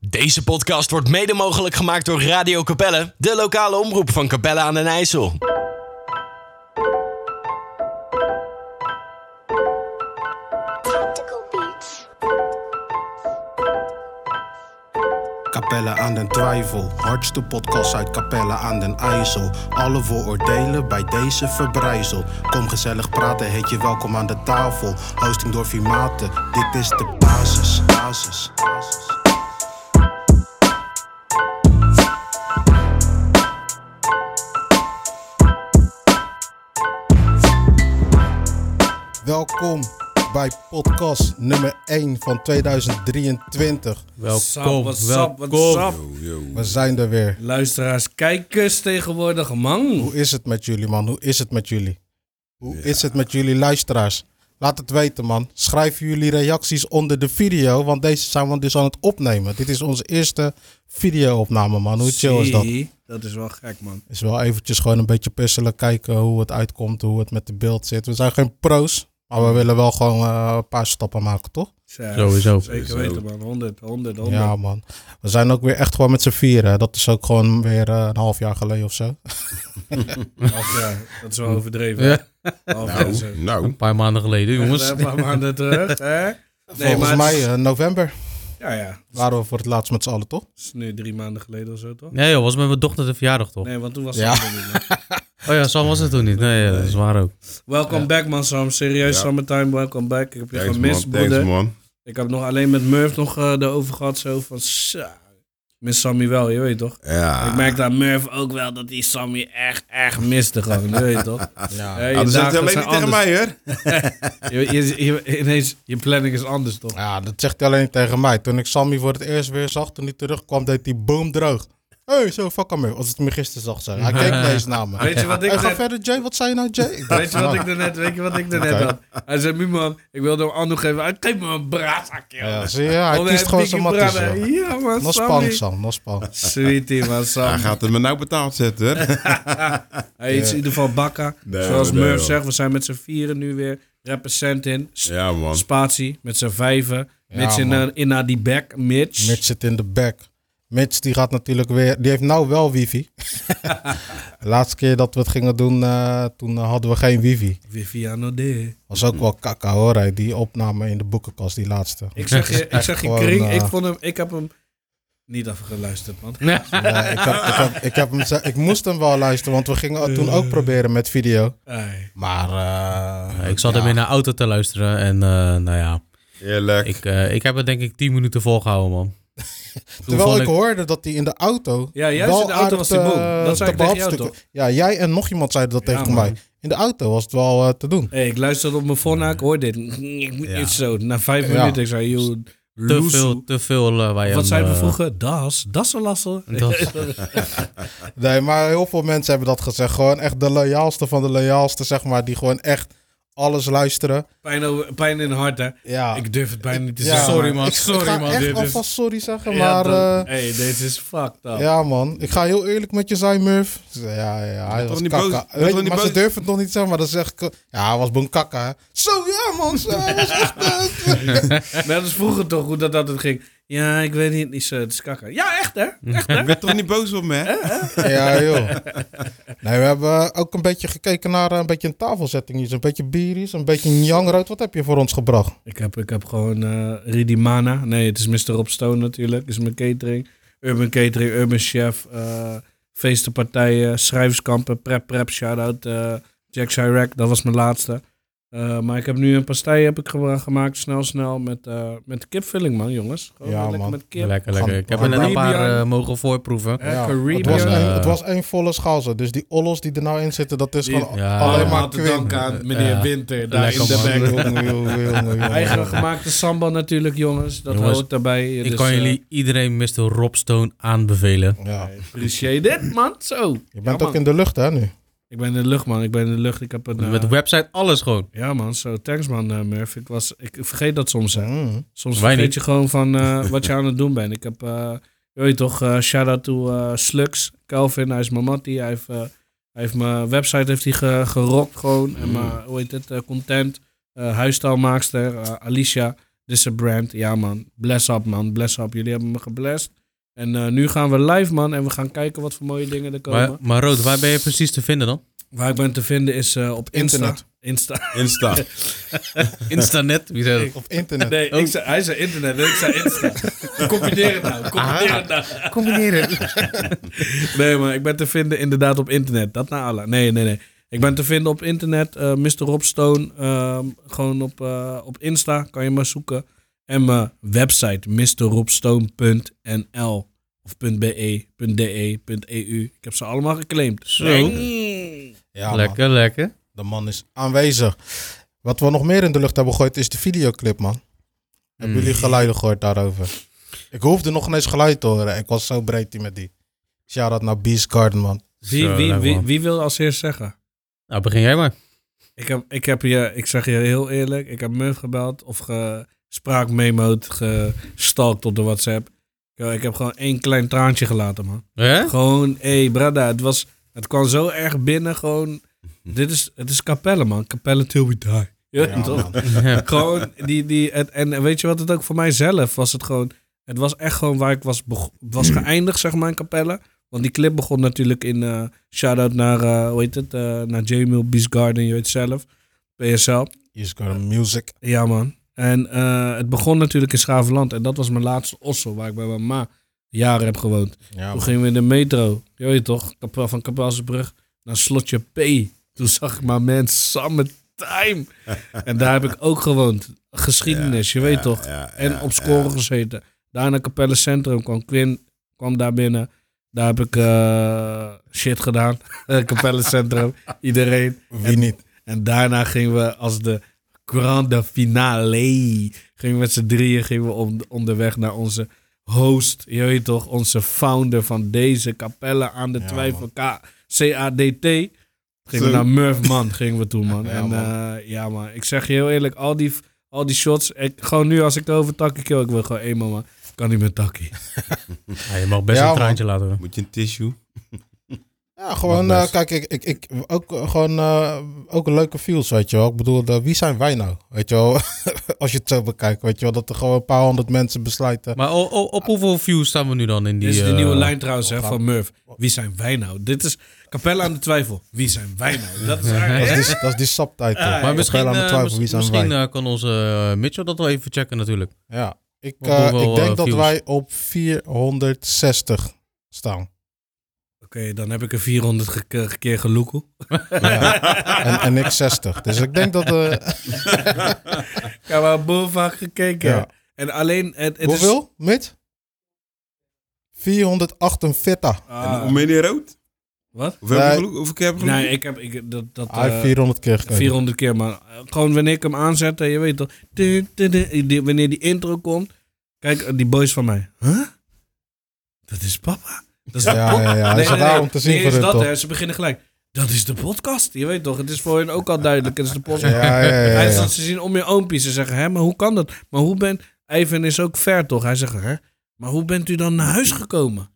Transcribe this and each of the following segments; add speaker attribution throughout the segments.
Speaker 1: Deze podcast wordt mede mogelijk gemaakt door Radio Capelle, de lokale omroep van Capelle aan den IJssel.
Speaker 2: Tactical Beats.
Speaker 3: Capelle aan den Twijfel, hardste podcast uit Capelle aan den IJssel. Alle vooroordelen bij deze verbrijzel. Kom gezellig praten, heet je welkom aan de tafel. Hosting door Vimaten, dit is de basis, basis. Welkom bij podcast nummer 1 van 2023.
Speaker 4: Sap,
Speaker 5: Welkom,
Speaker 4: wat sap, wat
Speaker 5: welkom.
Speaker 4: sap.
Speaker 3: We zijn er weer.
Speaker 4: Luisteraars, kijkers tegenwoordig, man.
Speaker 3: Hoe is het met jullie, man? Hoe is het met jullie? Hoe is het met jullie luisteraars? Laat het weten, man. Schrijf jullie reacties onder de video, want deze zijn we dus aan het opnemen. Dit is onze eerste video-opname, man. Hoe chill is dat?
Speaker 4: Zie, Dat is wel gek, man.
Speaker 3: Is wel eventjes gewoon een beetje puzzelen, kijken hoe het uitkomt, hoe het met de beeld zit. We zijn geen pro's, maar
Speaker 4: Hmm.
Speaker 3: we willen wel gewoon eh, een paar stappen maken, toch?
Speaker 4: Zo,
Speaker 5: Sowieso.
Speaker 4: Zeker weten, man. 100, 100, 100.
Speaker 3: Ja, man. We zijn ook weer echt gewoon met z'n vieren. Dat is ook gewoon weer eh, een half jaar geleden of zo.
Speaker 4: Half jaar. Dat is wel overdreven.
Speaker 5: Ja.
Speaker 4: Half jaar zo.
Speaker 6: Nou, nou.
Speaker 5: Een paar maanden geleden, jongens.
Speaker 4: Echt, eh, Een paar maanden terug, hè? Nee,
Speaker 3: Volgens
Speaker 4: maar het
Speaker 3: mij
Speaker 4: is-
Speaker 3: eh, november
Speaker 4: Ja, ja. Het
Speaker 3: waren we voor het laatst met z'n allen, toch?
Speaker 4: is nu drie maanden geleden of zo, toch?
Speaker 5: Nee joh, was met mijn dochter de verjaardag toch?
Speaker 4: Nee, want toen was
Speaker 3: Nou. Ja.
Speaker 4: het nog niet. man.
Speaker 5: Oh ja, Sam was het toen niet. Nee, ja, dat is waar ook.
Speaker 4: Welcome back, man, Sam. Serieus,
Speaker 6: Ja.
Speaker 4: summertime, welcome back. Ik heb je
Speaker 6: Thanks
Speaker 4: gemist,
Speaker 6: man, thanks
Speaker 4: broeder.
Speaker 6: man.
Speaker 4: Ik heb nog alleen met Murph nog eh erover gehad, zo van... "Zo, Miss Sammy wel, je weet toch?
Speaker 6: Ja. Ah,
Speaker 4: Ik merkte aan Murph ook wel dat die Sammy echt, echt miste gewoon. Je weet je toch? Ja, je
Speaker 6: Ah, dat zegt
Speaker 4: dagen
Speaker 6: hij alleen
Speaker 4: zijn
Speaker 6: niet tegen
Speaker 4: anders.
Speaker 6: mij, hoor.
Speaker 4: Je, je, je- ineens, je planning is anders, toch?
Speaker 3: Ja, dat zegt hij alleen tegen mij. Toen ik Sammy voor het eerst weer zag, toen hij terugkwam, deed hij boom droog. Hé, hey, zo, fuck hem weer. Als het me gisteren zag zijn. Hij keek ineens naar me.
Speaker 4: Weet je wat ik
Speaker 3: Hey, ga
Speaker 4: net-
Speaker 3: verder, Jay. Wat zei je nou, Jay? Ik dacht,
Speaker 4: Weet je wat
Speaker 3: nou,
Speaker 4: ik daarnet, weet je wat ik daarnet
Speaker 3: Oké.
Speaker 4: had? Hij zei, Miman, ik wilde hem aandoen geven. Hij geeft me een braadzakje.
Speaker 3: Ja, zie je?
Speaker 4: Oh,
Speaker 3: Hij kiest gewoon zijn matties. joh.
Speaker 4: Ja, man,
Speaker 3: Nog
Speaker 4: Sammy.
Speaker 3: spannend, Sam. Nog spannend.
Speaker 4: Sweetie, man,
Speaker 6: Hij
Speaker 4: Sam.
Speaker 6: gaat het me nou betaald zetten, hoor.
Speaker 4: Hij is in ieder geval bakka.
Speaker 6: Nee,
Speaker 4: Zoals
Speaker 6: nee,
Speaker 4: Murph
Speaker 6: joh.
Speaker 4: zegt, we zijn met z'n vieren nu weer. Represent in. S-
Speaker 6: Ja, man.
Speaker 4: Spatie, met z'n vijven.
Speaker 3: Ja,
Speaker 4: Mitch in,
Speaker 3: man.
Speaker 4: eh, in naar die back. Mitch.
Speaker 3: Mitch zit in de back. Mitch die gaat natuurlijk weer. Die heeft nou wel wifi. de laatste keer dat we het gingen doen, eh, toen eh, hadden we geen wifi.
Speaker 4: Viviano D.
Speaker 3: Was ook wel kakka hoor, hè, die opname in de boekenkast, die laatste.
Speaker 4: Ik zeg je, ik
Speaker 3: Echt
Speaker 4: zeg je
Speaker 3: gewoon,
Speaker 4: kring,
Speaker 3: eh,
Speaker 4: ik, vond hem, ik heb hem niet afgeluisterd, man.
Speaker 3: Ja, ik, heb, ik, heb, ik, heb hem, ze- ik moest hem wel luisteren, want we gingen toen
Speaker 4: Eh.
Speaker 3: ook proberen met video.
Speaker 4: Ai.
Speaker 3: Maar eh,
Speaker 5: Ik zat ermee naar auto te luisteren en eh, nou ja,
Speaker 6: Eerlijk.
Speaker 5: ik, eh, ik heb het denk ik 10 minuten volgehouden man. Toen
Speaker 3: terwijl
Speaker 5: vond
Speaker 3: ik hoorde dat hij in de auto.
Speaker 4: Ja, juist
Speaker 3: wel
Speaker 4: in de auto
Speaker 3: aardig
Speaker 4: was hij
Speaker 3: te-
Speaker 4: boem. Dat zei
Speaker 3: te
Speaker 4: ik tegen jou,
Speaker 3: behapstukken- Ja, jij en nog iemand zeiden dat
Speaker 4: Ja,
Speaker 3: tegen
Speaker 4: man.
Speaker 3: mij. In de auto was het wel eh, te doen.
Speaker 4: Hey, ik luisterde op mijn phone, ik hoor dit. Ik moet niet zo. Na vijf
Speaker 3: Ja.
Speaker 4: minuten, ik zei, joh,
Speaker 5: Te
Speaker 4: loezoe.
Speaker 5: veel, te veel eh, wij
Speaker 4: Wat
Speaker 5: zijn
Speaker 4: zeiden we vroeger? Das, das een lassen.
Speaker 3: Nee, maar heel veel mensen hebben dat gezegd. Gewoon echt de loyaalste van de loyaalste, zeg maar. Die gewoon echt alles luisteren.
Speaker 4: Pijn, over- pijn in het hart, hè.
Speaker 3: Ja.
Speaker 4: Ik durf het bijna niet te
Speaker 3: Ja,
Speaker 4: zeggen.
Speaker 5: Sorry, man.
Speaker 3: Ik, ik
Speaker 5: Sorry,
Speaker 3: ga
Speaker 5: man.
Speaker 3: echt
Speaker 5: Dit is-
Speaker 3: alvast sorry zeggen,
Speaker 4: Ja,
Speaker 3: maar...
Speaker 4: dan-
Speaker 3: eh,
Speaker 4: hey, deze is fucked up.
Speaker 3: Ja, man. Ik ga heel eerlijk met je zijn, Murph. Ze zei, Ja, ja, hij
Speaker 6: toch
Speaker 3: was
Speaker 6: niet boos?
Speaker 3: kakka.
Speaker 6: Je bent
Speaker 3: Weet
Speaker 6: toch
Speaker 3: je,
Speaker 6: niet
Speaker 3: maar ze
Speaker 6: boos?
Speaker 3: durven het nog niet te zeggen, maar dan zeg ik... Ja, hij was bon kakka, hè. Zo, ja, man. Zo, hij was echt... eh,
Speaker 4: Net als vroeger toch, hoe dat altijd ging. Ja, ik weet niet, is, eh, het is kakker. Ja, echt, hè?
Speaker 6: Ik ben toch niet boos op me,
Speaker 4: Eh,
Speaker 6: hè?
Speaker 3: ja, joh. Nee, we hebben ook een beetje gekeken naar eh, een beetje een tafelzetting. hier. Een beetje bieries, een beetje njangrood. Wat heb je voor ons gebracht?
Speaker 4: Ik heb, ik heb gewoon eh Ridimana. Nee, het is Mr. Rob Stone natuurlijk. Het is mijn catering. Urban Catering, Urban Chef. eh, feestenpartijen, schrijverskampen, prep prep. Shout-out eh, Jack Chirac. Dat was mijn laatste. Eh, maar ik heb nu een pastei heb ik ge- gemaakt. Snel, snel. Met, eh met kipvulling, man, jongens. Gewoon
Speaker 3: Ja,
Speaker 4: lekker
Speaker 3: man.
Speaker 4: met kip.
Speaker 5: Lekker, lekker. Ik heb er net een paar eh, mogen voorproeven.
Speaker 4: Eh,
Speaker 3: het, was
Speaker 4: Caribbean.
Speaker 5: Eh,
Speaker 3: een, het was één volle schaal zo. Dus die ollos die er nou in zitten, dat is
Speaker 4: Die-
Speaker 3: gewoon
Speaker 5: Ja.
Speaker 3: alleen
Speaker 4: Allemaal
Speaker 3: maar
Speaker 4: te
Speaker 3: kwim.
Speaker 4: danken aan meneer
Speaker 5: Ja.
Speaker 4: Winter. Daar in
Speaker 5: Lekker,
Speaker 4: de
Speaker 5: man.
Speaker 4: back.
Speaker 3: Jongen, jongen, jongen, jongen.
Speaker 4: Eigen gemaakte sambal natuurlijk, jongens. Dat
Speaker 5: Jongens,
Speaker 4: hoort daarbij.
Speaker 5: Ik
Speaker 4: Dus,
Speaker 5: kan
Speaker 4: eh,
Speaker 5: jullie iedereen Mr. Rob Stone aanbevelen.
Speaker 3: Ja.
Speaker 4: Appreciate dit, man. Zo.
Speaker 3: Je bent ook in de lucht, hè, nu?
Speaker 4: Ik ben in de lucht, man. Ik ben in de lucht. Ik heb een... eh,
Speaker 5: Met de website, alles gewoon.
Speaker 4: ja, man. Zo, thanks, man, eh, Murph. Ik, was, ik vergeet dat soms, hè.
Speaker 3: Mm.
Speaker 4: Soms
Speaker 5: Wij
Speaker 4: vergeet
Speaker 5: niet.
Speaker 4: je gewoon van eh, wat je aan het doen bent. Ik heb... eh je weet toch, eh, shout-out to eh, Slux. Calvin, hij is mijn mattie. Hij heeft, eh, hij heeft mijn website heeft hij ge-
Speaker 5: Mm.
Speaker 4: gerokt gewoon. En mijn, hoe heet het, eh, content. eh huistaalmaakster, eh, Alicia. Dit is een brand. Ja, man. Bless up, man. Bless up. Jullie hebben me geblest. En eh, nu gaan we live, man. En we gaan kijken wat voor mooie dingen er komen.
Speaker 5: Maar, maar Rood, waar ben je precies te vinden dan?
Speaker 4: Waar ik ben te vinden is eh, op Insta.
Speaker 3: Internet.
Speaker 4: Insta.
Speaker 6: Insta.
Speaker 5: Instanet? Wie zei dat?
Speaker 3: Of internet.
Speaker 4: Nee, ik zei, hij zei internet. Ik zei Insta. Combineer het nou. Combineer het nou.
Speaker 5: Combineren.
Speaker 4: Nee, maar ik ben te vinden inderdaad op internet. Dat naar Allah. Nee, nee, nee. Ik ben te vinden op internet. eh Mr. Rob Stone. ehm, gewoon op, eh, op Insta. Kan je maar zoeken. En mijn website mrrobstone.nl of E, .be, .de, .eu. E Ik heb ze allemaal geclaimd.
Speaker 5: Zo.
Speaker 3: Ja, man.
Speaker 5: Lekker, lekker.
Speaker 3: De man is aanwezig. Wat we nog meer in de lucht hebben gegooid is de videoclip, man. Hebben jullie geluiden gehoord daarover? Ik hoefde nog ineens geluid te horen. Ik was zo breed die met die. Shout-out naar Beast Garden, man.
Speaker 4: Wie,
Speaker 5: Zo,
Speaker 4: wie,
Speaker 5: lekker,
Speaker 4: wie,
Speaker 5: man.
Speaker 4: wie wil als eerst zeggen?
Speaker 5: Nou, begin jij maar.
Speaker 4: Ik heb, ik heb je, ik zeg je heel eerlijk, ik heb Murph gebeld of ge, spraakmemo'd, gestalkt op de WhatsApp. Yo, ik heb gewoon één klein traantje gelaten, man.
Speaker 5: Hè?
Speaker 4: Gewoon, hé, hey, brada, het, was, het kwam zo erg binnen, gewoon... Dit is, het is Capelle, man. Capelle till we die. Je weet
Speaker 3: Ja,
Speaker 4: toch?
Speaker 3: man.
Speaker 5: Ja.
Speaker 4: Gewoon, die, die, het, en weet je wat het ook voor mijzelf was? Het gewoon, het was echt gewoon waar ik was, beg- was geëindigd, zeg maar, in Capelle. Want die clip begon natuurlijk in eh shout-out naar, eh, hoe heet het, eh, naar Jamil, Beast Garden, je weet zelf. PSL.
Speaker 3: Beast Garden Music.
Speaker 4: Ja, man. En eh, het begon natuurlijk in Schavenland. En dat was mijn laatste ossel, waar ik bij mijn ma jaren heb gewoond.
Speaker 3: Ja,
Speaker 4: Toen
Speaker 3: man.
Speaker 4: gingen we in de metro, je weet toch, Kap- van Kapelsebrug naar slotje P. Toen zag ik maar mens, summertime. en daar heb ik ook gewoond. Geschiedenis, je weet toch. en op score gezeten. Daarna Capelle Centrum kwam Quinn, kwam daar binnen. Daar heb ik eh, shit gedaan. Capelle Centrum, iedereen.
Speaker 3: Wie niet?
Speaker 4: En daarna gingen we als de grande finale. Gingen we met z'n drieën gingen we on- onderweg naar onze host. Je weet toch, onze founder van deze capelle aan de
Speaker 3: Ja,
Speaker 4: twijfel. K- CADT. Gingen we
Speaker 6: Zo.
Speaker 4: naar Murph, man. Gingen we toe, man.
Speaker 3: Ja,
Speaker 4: en
Speaker 3: man.
Speaker 4: eh, ja, man. Ik zeg je heel eerlijk, al die, al die shots. Ik, gewoon nu als ik over Takkie kill, ik wil gewoon eenmaal, man. Ik Kan niet met Takkie.
Speaker 5: Ja, je mag best
Speaker 3: Ja,
Speaker 5: een traantje laten horen.
Speaker 6: Moet je een tissue?
Speaker 3: Ja, gewoon,
Speaker 5: Mag
Speaker 3: eh,
Speaker 5: best.
Speaker 3: kijk, ik, ik, ik, ook, eh, gewoon, eh, ook een leuke feels, weet je wel. Ik bedoel, eh, wie zijn wij nou? Weet je wel, als je het zo bekijkt, weet je wel. Dat er gewoon een paar honderd mensen besluiten.
Speaker 5: Maar o- o- op hoeveel views staan we nu dan in die...
Speaker 4: Dit is de
Speaker 5: eh,
Speaker 4: nieuwe lijn trouwens
Speaker 3: Oh,
Speaker 4: hè, van Murph. Wie zijn wij nou? Dit is Capella aan de twijfel. Wie zijn wij nou? Dat is eigenlijk...
Speaker 3: Dat is, die- dat is die subtitle.
Speaker 5: Maar misschien,
Speaker 3: aan de
Speaker 5: eh,
Speaker 3: twijfel,
Speaker 5: mis-
Speaker 3: wie zijn wij?
Speaker 5: misschien eh, kan onze eh, Mitchell dat wel even checken natuurlijk.
Speaker 3: Ja, ik,
Speaker 5: We doen
Speaker 3: eh,
Speaker 5: wel,
Speaker 3: ik denk
Speaker 5: eh,
Speaker 3: dat
Speaker 5: views.
Speaker 3: wij op 460 staan.
Speaker 4: Oké, dan heb ik er 400 ge- ke- keer geloekel.
Speaker 3: Ja. en, en ik 60. Dus ik denk dat... eh
Speaker 4: Ik heb wel boven vaak gekeken.
Speaker 3: Ja.
Speaker 4: En alleen... Het, het is-
Speaker 3: hoeveel, Mid? 448.
Speaker 4: Ah,
Speaker 6: En om meneer Rood?
Speaker 4: wat?
Speaker 6: Hoeveel heb
Speaker 3: Nee.
Speaker 6: je geluk? Hoeveel keer heb je geluk?
Speaker 4: Nee, ik heb ik, dat, dat
Speaker 3: Hij heeft
Speaker 4: eh,
Speaker 3: 400 keer gekeken.
Speaker 4: 400 keer, maar eh, gewoon wanneer ik hem aanzet, eh, je weet toch, tu- tu- tu- die- wanneer die intro komt, kijk, eh, die boys van mij, huh? Dat is papa. Dat is de
Speaker 3: Ja, ja, ja. Hij is daar om te zien
Speaker 4: Nee,
Speaker 3: voor
Speaker 4: is
Speaker 3: hun,
Speaker 4: dat,
Speaker 3: toch?
Speaker 4: hè, ze beginnen gelijk. Dat is de podcast. Je weet toch, het is voor hen ook al duidelijk. Het is de podcast.
Speaker 3: Ja, ja, ja, ja.
Speaker 4: Hij is dat ze zien om je oompjes en zeggen, hè, maar hoe kan dat? Maar hoe ben... Ivan is ook ver, toch? Hij zegt, hè, maar hoe bent u dan naar huis gekomen?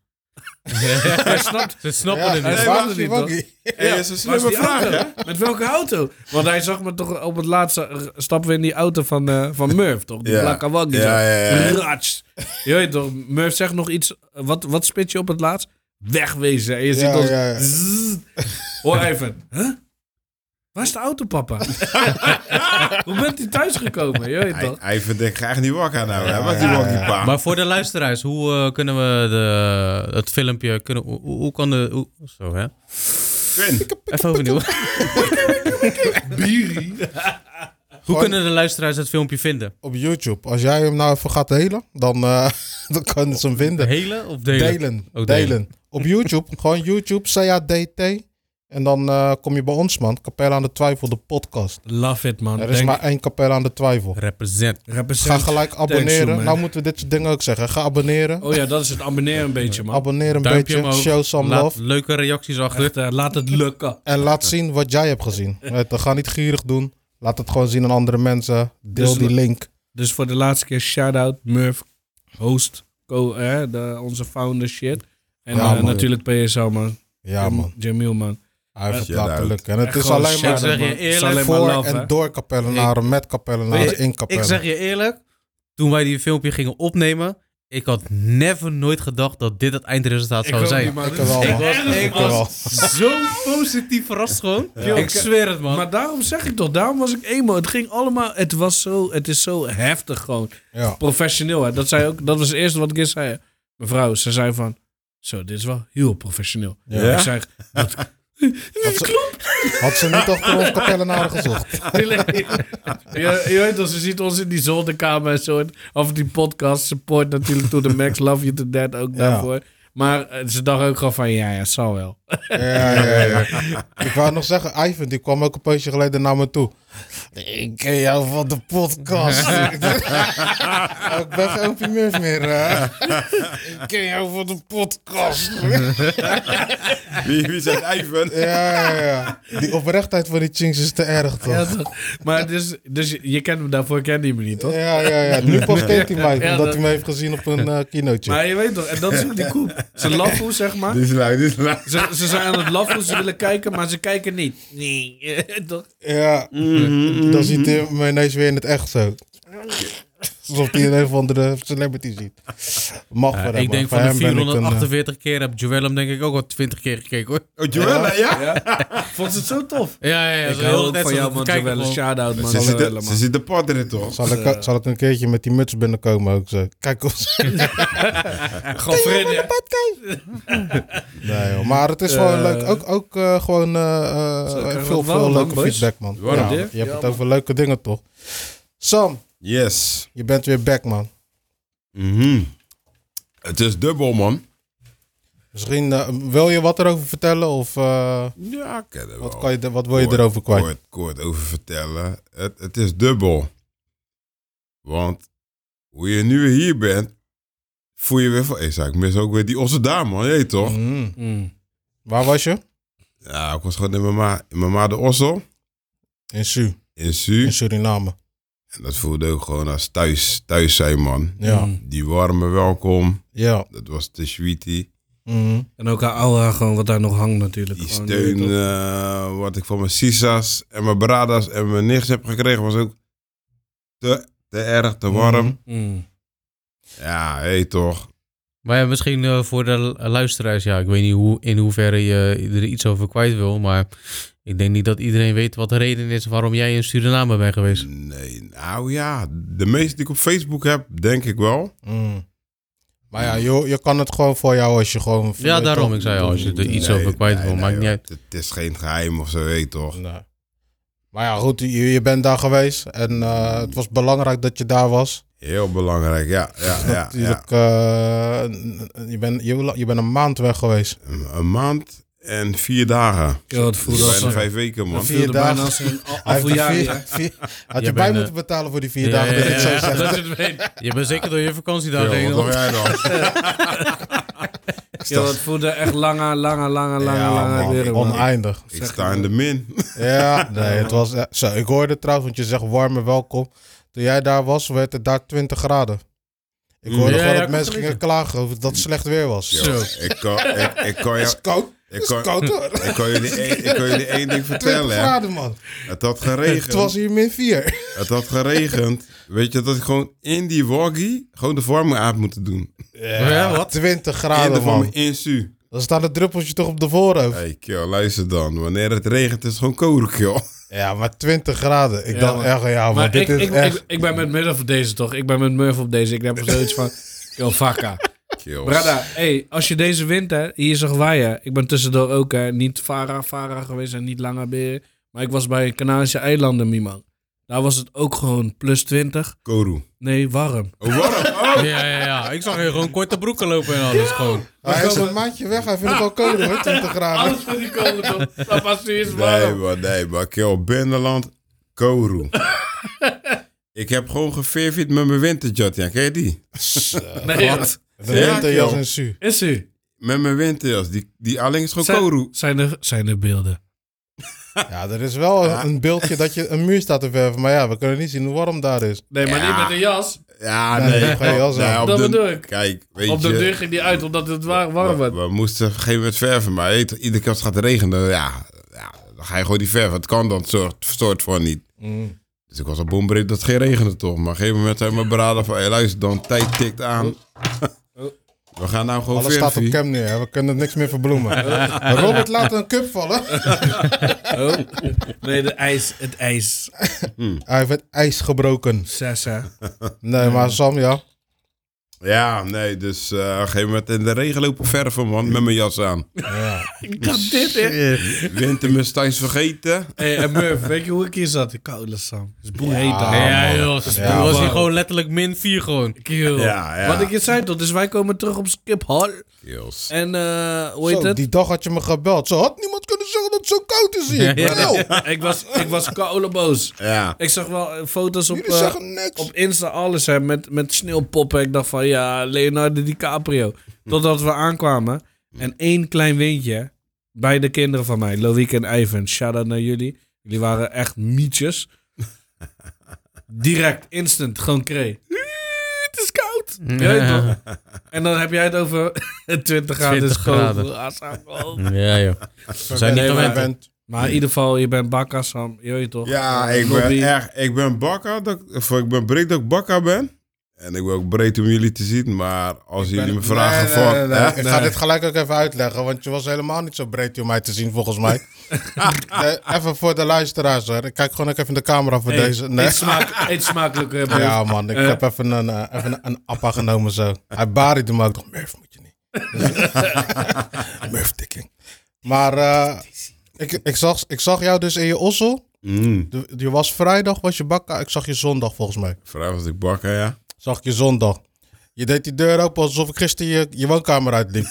Speaker 4: Hij snapt...
Speaker 5: Ze snappen
Speaker 3: Ja,
Speaker 5: het niet.
Speaker 3: hij is
Speaker 4: Nee,
Speaker 3: wacky,
Speaker 4: waarom
Speaker 3: wacky.
Speaker 6: Hey, dat is een
Speaker 4: Waar is
Speaker 6: slimme
Speaker 4: die
Speaker 6: vraag, hè?
Speaker 4: auto? Met welke auto? Want hij zag me toch op het laatste eh, stappen we in die auto van, eh, van Murph, toch? Die
Speaker 6: Ja.
Speaker 4: blakke waggie.
Speaker 6: Ja,
Speaker 4: zo.
Speaker 6: ja, ja.
Speaker 4: Rats. Je weet toch, Murph zegt nog iets. eh, Wat, wat spit je op het laatst? Wegwezen. En je ziet
Speaker 3: Ja,
Speaker 4: ons...
Speaker 3: ja, ja.
Speaker 4: Zzz. Hoor even. Huh? Waar is de auto, papa? Hoe bent u thuisgekomen? Je weet
Speaker 6: Hij,
Speaker 4: toch?
Speaker 6: hij vindt ik graag niet wakker nou, hè? Wat die
Speaker 3: Ah.
Speaker 6: wakkiepa.
Speaker 5: Maar voor de luisteraars, hoe eh, kunnen we de, het filmpje... Kunnen, hoe, hoe hoe kan de... Hoe, zo, hè?
Speaker 6: Quinn,
Speaker 5: Even overnieuw. Hoe kunnen de luisteraars het filmpje vinden?
Speaker 3: Op YouTube. Als jij hem nou even gaat delen, dan, eh dan kan ze hem vinden.
Speaker 5: Helen of delen?
Speaker 3: Delen.
Speaker 5: Oh,
Speaker 3: Delen.
Speaker 5: delen.
Speaker 3: Op YouTube. gewoon YouTube, CADT. En dan eh, kom je bij ons, man. Capella aan de Twijfel, de podcast.
Speaker 4: Love it, man.
Speaker 3: Er is
Speaker 4: Thank-
Speaker 3: maar één Capella aan de Twijfel.
Speaker 5: Represent.
Speaker 3: Ga
Speaker 4: Represent.
Speaker 3: gelijk
Speaker 4: Thanks,
Speaker 3: abonneren.
Speaker 4: man.
Speaker 3: nou moeten we dit soort dingen ook zeggen. Ga abonneren.
Speaker 4: Oh ja, dat is het abonneren een beetje, man.
Speaker 3: Abonneer een
Speaker 5: Duimpje
Speaker 3: beetje.
Speaker 5: omhoog.
Speaker 3: Show some
Speaker 5: Laat
Speaker 3: love.
Speaker 5: leuke reacties achter.
Speaker 4: Echt, eh, laat het lukken.
Speaker 3: En laat zien wat jij hebt gezien. Weet je, Ga niet gierig doen. Laat het gewoon zien aan andere mensen. Deel
Speaker 4: Dus-
Speaker 3: die link.
Speaker 4: Dus voor de laatste keer, shout-out Murph, host, co, hè, de, onze founder shit. En
Speaker 3: Ja,
Speaker 4: eh,
Speaker 3: man.
Speaker 4: natuurlijk PSL, man.
Speaker 3: Ja, man.
Speaker 4: Jamil, man.
Speaker 3: Hij heeft het
Speaker 6: Shout-out.
Speaker 3: laten lukken. En het
Speaker 4: Echt
Speaker 3: is
Speaker 4: gewoon
Speaker 3: alleen
Speaker 5: Ik
Speaker 3: maar
Speaker 4: shout-out, man.
Speaker 5: zeg je
Speaker 4: Het is
Speaker 5: eerlijk,
Speaker 4: alleen maar
Speaker 3: voor
Speaker 4: love, hè.
Speaker 3: en door kapellenaren, met
Speaker 5: Weet
Speaker 3: kapellenaren,
Speaker 5: je,
Speaker 3: in
Speaker 5: Ik
Speaker 3: kapellen.
Speaker 5: zeg je eerlijk, toen wij die filmpje gingen opnemen, ik had never nooit gedacht dat dit het eindresultaat zou zijn.
Speaker 3: Ik wel, man.
Speaker 5: Ik
Speaker 3: wel.
Speaker 5: was zo positief verrast gewoon. Ik zweer het, man.
Speaker 4: Maar daarom zeg ik toch, daarom was ik emo. Het ging allemaal, het was zo, het is zo heftig gewoon.
Speaker 3: Ja.
Speaker 4: Professioneel, hè. Dat, zei ook, dat was het eerste wat ik eerst zei. Mevrouw, ze zei van, zo, dit is wel heel professioneel.
Speaker 3: Ja.
Speaker 4: Ik zei, dat,
Speaker 3: Had ze, had ze niet achter ons kapellenaren gezocht.
Speaker 4: je, je weet wel, ze ziet ons in die zolderkamer en zo. En Of die podcast support natuurlijk to the max. Love you to death ook daarvoor. Maar eh, ze dacht ook gewoon van, ja, ja, zal wel.
Speaker 3: Ja, ja, ja. Ik wou nog zeggen, Ivan, die kwam ook een poosje geleden naar me toe. Ik ken jou van de podcast. Oh, ik ben geen Opie Murph meer. hè? Ik ken jou van de podcast.
Speaker 6: Wie, wie zegt Ivan?
Speaker 3: ja, ja, ja. Die oprechtheid van die chinks is te erg, toch?
Speaker 4: Ja,
Speaker 3: Ja,
Speaker 4: toch? maar dus, dus je, je kent hem daarvoor, kende je me niet, toch?
Speaker 3: ja, ja. Nu pas kent hij mij,
Speaker 4: Ja,
Speaker 3: omdat
Speaker 4: dat-
Speaker 3: hij me heeft gezien op een eh kinootje.
Speaker 4: Maar je weet toch, en dat is ook die koep. Ze lachen, zeg maar.
Speaker 6: Dit is lui, dit is lui.
Speaker 4: Ze, ze zijn aan het lachen, ze willen kijken, maar ze kijken niet. Nee, toch?
Speaker 3: Ja,
Speaker 5: Mhm.
Speaker 3: dan ziet hij me ineens weer in het echt zo. Alsof hij een of andere celebrity ziet. Mag voor
Speaker 5: Ja,
Speaker 3: hem,
Speaker 5: ik denk
Speaker 3: maar
Speaker 5: van de
Speaker 3: voor hem ben ik een, eh,
Speaker 5: 448 keer heb Joel hem denk ik ook al 20 keer gekeken hoor.
Speaker 6: Oh, Joella, ja?
Speaker 4: Vond ze het zo tof?
Speaker 5: Ja, ja, ja.
Speaker 4: Ik hou ook van jou, man. Jawel, een shout-out, man.
Speaker 6: Ze
Speaker 4: Jawel,
Speaker 6: zitten- Ze
Speaker 4: man.
Speaker 6: zitten pot erin, toch?
Speaker 3: Zal ik, zal ik een keertje met die muts binnenkomen ook zo? Kijk of ze...
Speaker 4: Gewoon vrienden.
Speaker 3: Nee, joh, maar het is gewoon
Speaker 4: Eh.
Speaker 3: leuk. Ook, ook eh, gewoon eh, eh,
Speaker 4: Zo, krijgen we
Speaker 3: veel,
Speaker 4: het wel,
Speaker 3: veel
Speaker 4: man,
Speaker 3: leuke
Speaker 4: boys.
Speaker 3: feedback, man.
Speaker 6: Waarom,
Speaker 3: Ja,
Speaker 4: Dirk?
Speaker 3: je hebt
Speaker 4: Ja,
Speaker 3: het
Speaker 4: man.
Speaker 3: over leuke dingen, toch? Sam,
Speaker 6: Yes.
Speaker 3: je bent weer back, man.
Speaker 6: Mhm. Het is dubbel, man.
Speaker 3: Misschien eh, wil je wat erover vertellen? Of eh,
Speaker 6: Ja, ik ken het
Speaker 3: wat,
Speaker 4: Oh,
Speaker 6: wel.
Speaker 3: kan je, de- wat wil je
Speaker 6: Kort,
Speaker 3: erover kwijt?
Speaker 6: Kort, kort over vertellen. Het, het is dubbel. Want hoe je nu weer hier bent, voel je weer van... Hey, zei, ik mis ook weer die Osse Daan, man. Je weet toch?
Speaker 3: Mm. Waar was je?
Speaker 6: Ja, ik was gewoon in mijn ma, in mijn ma de Ossel.
Speaker 3: In Su,
Speaker 6: In Su.
Speaker 3: in Suriname.
Speaker 6: En dat voelde ook gewoon als thuis, thuis zijn, man.
Speaker 3: Ja,
Speaker 6: Die warme welkom.
Speaker 3: ja.
Speaker 6: Dat was de sweetie.
Speaker 3: Mhm.
Speaker 4: En ook haar aura, gewoon wat daar nog hangt natuurlijk.
Speaker 6: Die
Speaker 4: Gewoon,
Speaker 6: steun
Speaker 4: je weet
Speaker 6: eh, wat ik van mijn sisa's en mijn bradas en mijn nichts heb gekregen was ook te, te erg, te warm.
Speaker 3: Mhm.
Speaker 4: toch? Mm.
Speaker 6: Ja, hé toch.
Speaker 5: Maar ja, misschien eh, voor de lu- luisteraars, ja, ik weet niet hoe, in hoeverre je er iets over kwijt wil, maar ik denk niet dat iedereen weet wat de reden is waarom jij in Suriname bent geweest.
Speaker 6: Nee, nou ja, de meeste die ik op Facebook heb, denk ik wel.
Speaker 3: Mm. Maar ja, je, je kan het gewoon voor jou als je gewoon...
Speaker 5: Ja, daarom, ik zei al, als je er iets over kwijt wil,
Speaker 6: nee,
Speaker 5: maakt
Speaker 6: nee,
Speaker 5: niet uit.
Speaker 6: Het het is geen geheim of zo, hé toch.
Speaker 3: Nee. Maar ja, goed, je, je bent daar geweest en eh, het was belangrijk dat je daar was.
Speaker 6: Heel belangrijk, ja. ja, ja, ja.
Speaker 3: Natuurlijk, eh, n- je bent je, wil- je bent een maand weg geweest.
Speaker 6: Een, een maand en vier dagen.
Speaker 4: Ja, het
Speaker 6: Dat
Speaker 4: voelde
Speaker 6: is
Speaker 4: als
Speaker 6: bijna
Speaker 4: een...
Speaker 6: vijf weken, man.
Speaker 4: Het voelde
Speaker 3: Vier
Speaker 4: bijna
Speaker 3: dagen.
Speaker 4: als een a-
Speaker 3: Hij heeft er
Speaker 4: afvaljaar.
Speaker 3: vier-
Speaker 4: ja.
Speaker 3: vier- had
Speaker 5: Jij
Speaker 3: je bij
Speaker 5: bent,
Speaker 3: moeten
Speaker 5: eh,
Speaker 3: betalen voor die vier
Speaker 5: Ja,
Speaker 3: dagen.
Speaker 5: ja,
Speaker 3: dat ik
Speaker 5: ja,
Speaker 3: zou
Speaker 5: ja,
Speaker 3: zeggen.
Speaker 5: dat is het weet. Je bent zeker door je
Speaker 6: Ja,
Speaker 5: vakantiedagen
Speaker 6: wat
Speaker 5: heen.
Speaker 6: dacht
Speaker 5: hoor.
Speaker 6: jij dan?
Speaker 4: Ja, het voelde echt lange, lange, lange, lange,
Speaker 6: Ja,
Speaker 4: lange
Speaker 6: man.
Speaker 4: weer. man.
Speaker 3: Oneindig.
Speaker 6: Ik sta in de min.
Speaker 3: Ja, nee, het was... eh, Zo, ik hoorde trouwens, want je zegt warme welkom. Toen jij daar was, werd het daar 20 graden. Ik hoorde
Speaker 5: Ja,
Speaker 3: gewoon
Speaker 5: ja,
Speaker 3: dat
Speaker 5: ik
Speaker 3: mensen
Speaker 5: kan
Speaker 3: gingen klagen over dat het slecht weer was.
Speaker 6: Yo, ik kan, ik, ik kan jou...
Speaker 3: Het is koud.
Speaker 6: Ik
Speaker 3: Het is
Speaker 6: kan,
Speaker 3: koud hoor.
Speaker 6: ik kan jullie, één- ik kan jullie één ding
Speaker 3: 20
Speaker 6: vertellen, hè.
Speaker 3: graden man.
Speaker 6: Het had
Speaker 3: Het was
Speaker 6: geregend.
Speaker 3: hier min 4.
Speaker 6: Het had geregend. Weet je, dat ik gewoon in die waggie gewoon de vorming aan had moeten doen.
Speaker 5: Ja, wat?
Speaker 3: 20
Speaker 6: in de
Speaker 3: graden,
Speaker 6: vorming
Speaker 3: man.
Speaker 6: in su.
Speaker 3: Dan staat het druppeltje toch op de voorhoofd.
Speaker 6: Hey, kill, luister dan. Wanneer het regent is het gewoon koud, joh.
Speaker 3: Ja, maar 20 graden. Ik dacht
Speaker 4: man.
Speaker 3: echt, ja, maar,
Speaker 6: Oh,
Speaker 4: Maar
Speaker 3: dit
Speaker 4: ik,
Speaker 3: is
Speaker 4: ik,
Speaker 3: echt...
Speaker 4: ik, ik ben met Murph op deze, toch? Ik ben met Murph op deze. Ik heb zoiets van... Yo, vakka.
Speaker 6: Kill.
Speaker 4: Brada, hey, als je deze wint, hè, hier is een waaien. Ik ben tussendoor ook hè, niet Vara Vara geweest en niet Langaberen. Maar ik was bij Canarische eilanden, Mimo. Daar was het ook gewoon plus 20.
Speaker 6: Koru.
Speaker 4: Nee, warm.
Speaker 6: Oh, warm. Oh,
Speaker 5: Ja, ja, ja. Ik zag je gewoon korte broeken lopen en alles gewoon.
Speaker 3: Hij is een maandje weg, hij vindt het al koud hoor, 20 graden.
Speaker 4: voor die komen toch? Dat was serieus
Speaker 6: nee, maar nee, maar kill. Binnenland, Koru. ik heb gewoon geverfd met mijn winterjat, ja. Ken je die?
Speaker 4: Nee, wat?
Speaker 3: De
Speaker 6: Ja,
Speaker 3: winterjas
Speaker 6: joh.
Speaker 3: en su.
Speaker 4: Is u?
Speaker 6: Met mijn winterjas. Die, die alleen is gewoon
Speaker 4: Zijn-
Speaker 6: Koru.
Speaker 4: Zijn er, zijn er beelden?
Speaker 3: Ja, er is wel een, een beeldje dat je een muur staat te verven. Maar ja, we kunnen niet zien hoe warm daar is.
Speaker 4: Nee, maar
Speaker 6: Ja.
Speaker 4: niet met een jas.
Speaker 6: Ja,
Speaker 3: Nee,
Speaker 6: nee.
Speaker 3: dat ga je wel zeggen.
Speaker 6: op
Speaker 4: Dat
Speaker 6: de-
Speaker 4: bedoel ik.
Speaker 6: Kijk, weet
Speaker 4: Op de
Speaker 6: je...
Speaker 4: deur ging die uit omdat het wa- warm
Speaker 6: we,
Speaker 4: werd.
Speaker 6: we moesten op een gegeven moment verven, maar weet je, iedere keer
Speaker 3: Mm.
Speaker 6: als het gaat regenen, ja, ja, dan ga je gewoon die verven. Het kan dan soort, soort van niet. Dus ik was al boombereid dat het geen regende toch. Maar op een gegeven moment zijn we beraden van... Hey, luister dan, tijd tikt aan. We gaan nou gewoon
Speaker 3: Oh. Alles staat op
Speaker 6: verfie.
Speaker 3: cam nu, hè. we kunnen niks meer verbloemen. Robert laat een cup vallen.
Speaker 4: Oh. Nee, de ijs, het ijs.
Speaker 3: Hij heeft het ijs gebroken.
Speaker 4: Sessa.
Speaker 3: Nee, maar Sam, ja.
Speaker 6: Ja, nee, dus eh, op een gegeven moment in de regen lopen verven, man. Met mijn jas aan.
Speaker 4: Ik had dit, hè?
Speaker 6: Wintermustijns vergeten.
Speaker 4: Hey, en Murph, weet je hoe ik hier zat? Ik koude Sam. Het is boerheet daar.
Speaker 3: Ja,
Speaker 5: ja,
Speaker 3: man.
Speaker 5: joh. Het
Speaker 3: Ja,
Speaker 5: was
Speaker 4: Ah, man.
Speaker 5: hier gewoon letterlijk min 4 gewoon.
Speaker 4: Kiel.
Speaker 6: Ja, Ah, ja.
Speaker 4: Wat ik je zei toch, dus wij komen terug op Skiphal.
Speaker 6: Yes.
Speaker 4: En eh hoe heet
Speaker 3: Zo,
Speaker 4: het?
Speaker 3: die dag had je me gebeld. Zo had niemand kunnen zeggen dat het zo koud is hier.
Speaker 5: Ja, ja.
Speaker 3: Nou,
Speaker 4: ik was, ik was koudenboos.
Speaker 6: Ja.
Speaker 4: Ik zag wel eh, foto's op,
Speaker 3: jullie
Speaker 4: eh,
Speaker 3: zeggen niks.
Speaker 4: op Insta alles hè, met, met sneeuwpoppen. Ik dacht van ja, Leonardo DiCaprio. Totdat we aankwamen. En één klein windje bij de kinderen van mij, Loïc en Ivan. Shout out naar jullie. Jullie waren echt mietjes. Direct, instant, gewoon kree. Het is koud. Ja. je
Speaker 5: Ja.
Speaker 4: toch? En dan heb jij het over 20 graden.
Speaker 5: 20
Speaker 4: is gewoon
Speaker 5: graden.
Speaker 4: brasaal koud.
Speaker 5: Ja, joh. We zijn niet
Speaker 3: Nee, maar je
Speaker 5: gewend.
Speaker 3: bent-
Speaker 4: Maar in ieder geval, je bent bakka, Sam. Je weet toch?
Speaker 6: Ja,
Speaker 4: Eh,
Speaker 6: ik
Speaker 4: lobby.
Speaker 6: ben echt, ik ben bakka, dat, ik- of ik ben breed dat ik bakka ben. En ik ben ook breed om jullie te zien, maar als jullie me vragen
Speaker 3: Nee,
Speaker 6: van...
Speaker 3: nee, nee, nee.
Speaker 6: hè?
Speaker 3: Ik ga dit gelijk ook even uitleggen, want je was helemaal niet zo breed om mij te zien, volgens mij. Nee, even voor de luisteraars, hoor. Ik kijk gewoon ook even in de camera voor
Speaker 4: Hey,
Speaker 3: deze. Nee.
Speaker 4: Eet, smaak, eet smakelijk. eh, Bert.
Speaker 3: Ja, man, ik heb even een, eh, even een, een appa genomen zo. Hij bariede me ook nog. Murph moet je niet. Murph dikking. Maar eh, ik, ik, zag, ik zag jou dus in je ossel.
Speaker 6: Mm,
Speaker 3: De- Je was vrijdag, was je bakka. Ik zag je zondag, volgens mij.
Speaker 6: vraag was ik bakka, ja.
Speaker 3: Zag ik je zondag. Je deed die deur open alsof ik gisteren je, je woonkamer uitliep.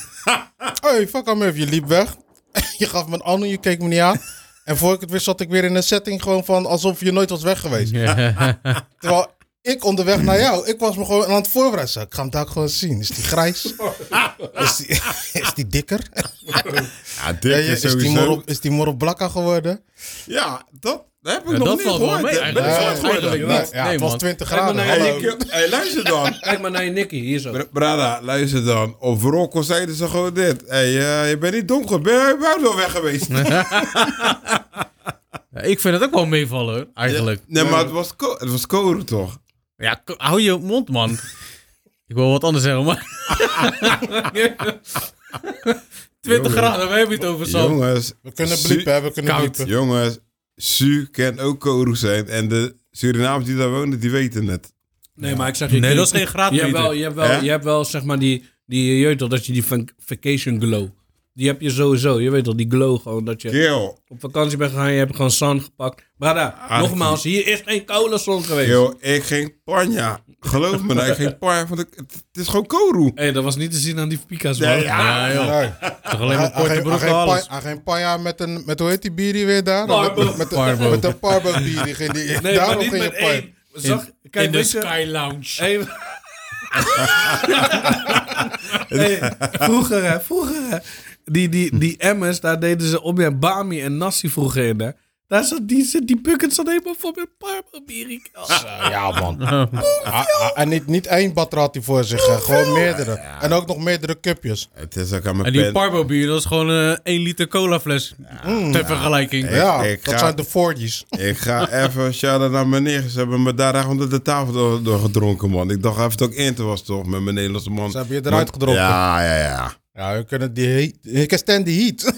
Speaker 3: hey, fuck hem even. Je liep weg. je gaf me een ander, je keek me niet aan. En voor ik het wist zat ik weer in een setting gewoon van alsof je nooit was weg geweest. Terwijl ik onderweg naar jou, ik was me gewoon aan het voorbereiden. Zo, Ik ga hem daar ook gewoon zien. Is die grijs? Is die, is die dikker?
Speaker 6: Ja, dik
Speaker 3: Ja, ja,
Speaker 6: is
Speaker 3: is, die
Speaker 6: sowieso...
Speaker 3: moro, is die moro blakka geworden?
Speaker 6: Ja, dat, dat heb ik
Speaker 5: Ja,
Speaker 6: nog
Speaker 5: dat
Speaker 6: niet
Speaker 5: valt wel
Speaker 6: gehoord.
Speaker 5: mee
Speaker 6: hè.
Speaker 5: eigenlijk.
Speaker 6: Dat
Speaker 5: Ja,
Speaker 6: valt
Speaker 5: ja,
Speaker 6: wel mee.
Speaker 3: Nee,
Speaker 5: eigenlijk. niet.
Speaker 3: ja,
Speaker 5: Nee,
Speaker 3: het was
Speaker 5: man.
Speaker 3: 20
Speaker 4: Kijk maar
Speaker 3: graden.
Speaker 5: nou
Speaker 4: naar je
Speaker 3: hallo.
Speaker 6: Hey, ik- hey, luister dan.
Speaker 4: Kijk maar naar je Nicky, hier zo.
Speaker 6: Br- Brada, luister dan. Of Rocco zeiden ze gewoon dit. Hey, eh, je bent niet donker. Ben je überhaupt wel weg geweest? Nee,
Speaker 5: Ja, ik vind het ook wel meevallen, hoor, eigenlijk.
Speaker 6: maar het was, ko- het was koren toch?
Speaker 5: Ja, k- hou je mond, man. ik wil wat anders zeggen, maar... 20 graden, waar heb je het over, Sam?
Speaker 6: Jongens,
Speaker 3: We kunnen bliepen, hè, we kunnen
Speaker 5: Koud.
Speaker 3: bliepen.
Speaker 6: Jongens, Su kan ook Kourou zijn. En de Surinamers die daar wonen, die weten het.
Speaker 4: Nee, maar ik zeg je...
Speaker 5: Nee, dat is geen graad,
Speaker 4: Je hebt
Speaker 5: Pieter.
Speaker 4: wel, je hebt wel,
Speaker 6: Hè?
Speaker 4: je hebt wel zeg maar, die, die je weet toch, dat je die van- vacation glow... Die heb je sowieso, je weet toch, die glow gewoon, dat je
Speaker 6: Kill.
Speaker 4: op vakantie bent gegaan, je hebt gewoon zon gepakt. Brada,
Speaker 5: Ah,
Speaker 4: nogmaals, hier is geen koude zon geweest.
Speaker 6: Yo, ik ging panja. Geloof me, nou, ik ging panja. Want ik, het, het is gewoon Kourou.
Speaker 4: Hé, dat was niet te zien aan die pika's, man.
Speaker 6: Ja,
Speaker 4: Nee,
Speaker 6: ja.
Speaker 5: Ja, joh.
Speaker 3: Nee.
Speaker 5: Toch
Speaker 3: Hij-
Speaker 5: alleen maar
Speaker 3: hij-
Speaker 5: korte
Speaker 3: hij-
Speaker 5: broeken,
Speaker 3: hij-
Speaker 5: alles.
Speaker 3: Hij geen panja met een, met hoe heet die bier die weer daar?
Speaker 4: Parbo.
Speaker 3: Met, met, de-
Speaker 5: Parbo.
Speaker 3: met een parbo bier. Die, ging- die, daarom
Speaker 4: maar niet
Speaker 3: ging
Speaker 4: met
Speaker 3: je pan-
Speaker 4: één. Zag, kijk,
Speaker 5: In de
Speaker 4: weet je-
Speaker 5: Sky Lounge.
Speaker 4: Hey. Hey, vroeger, hè, vroeger, hè. Die, die, die emmers, daar deden ze om je Bami en Nassi vroeger in, hè. Daar zat die, zit- die bucket zat helemaal vol met parmelbierik.
Speaker 3: Ja, man. Ah, ah, en niet, niet één batter had hij voor zich. hè. Gewoon meerdere. En ook nog meerdere cupjes.
Speaker 6: Het is ook aan
Speaker 5: En
Speaker 6: mijn
Speaker 5: die
Speaker 6: pen.
Speaker 5: Parbo bier, dat is gewoon een 1 liter cola fles. Ter vergelijking.
Speaker 3: Ja,
Speaker 6: ik
Speaker 3: dat
Speaker 6: ga-
Speaker 3: zijn de voortjes.
Speaker 6: Ik ga even shout-out naar meneer. Ze hebben me daar echt onder de tafel door, door gedronken, man. Ik dacht even dat ik Inter was, toch? Met mijn Nederlandse man.
Speaker 3: Ze hebben je eruit
Speaker 6: Want-
Speaker 3: gedronken.
Speaker 6: Ja, ja, ja.
Speaker 3: Ja, we kunnen die heat. Ik can stand the heat.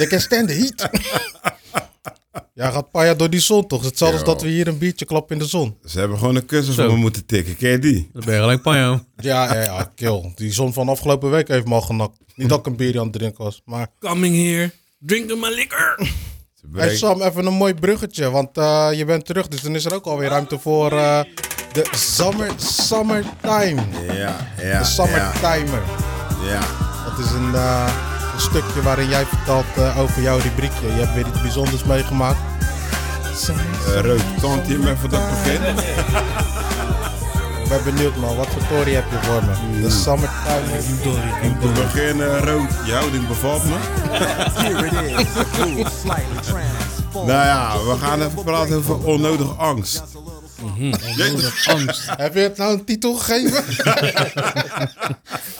Speaker 3: Ik can stand the heat. Ja, gaat panja door die zon toch? Hetzelfde als
Speaker 6: Yo.
Speaker 3: dat we hier een biertje klappen in de zon.
Speaker 6: Ze hebben gewoon een kussen
Speaker 5: Zo.
Speaker 6: voor me moeten tikken. Ken je die?
Speaker 5: Dan ben je gelijk panjo.
Speaker 3: Ja, ja, ja, kill. Die zon van afgelopen week heeft me al genakt. Niet dat ik een bier aan het drinken was, maar...
Speaker 4: Coming here, drink maar liquor.
Speaker 6: Ze
Speaker 3: Hey
Speaker 6: brengen-
Speaker 3: Sam, even een mooi bruggetje, want eh, je bent terug, dus dan is er ook alweer ruimte voor eh, de summer, summertime.
Speaker 6: Ja,
Speaker 3: De
Speaker 6: ja, ja,
Speaker 3: summertimer.
Speaker 6: ja.
Speaker 3: Dat is een, eh, een stukje waarin jij vertelt eh, over jouw rubriekje. Je hebt weer iets bijzonders meegemaakt.
Speaker 6: Eh, Rood, tante je me even dat pakket?
Speaker 3: Ik ben benieuwd man, wat voor story heb je voor
Speaker 6: Hmm.
Speaker 3: me? De summertimer.
Speaker 6: Te beginnen, Rood, je houding bevalt me. Nou ja, we gaan even praten over onnodig angst.
Speaker 5: Angst.
Speaker 3: Heb je het nou een titel gegeven?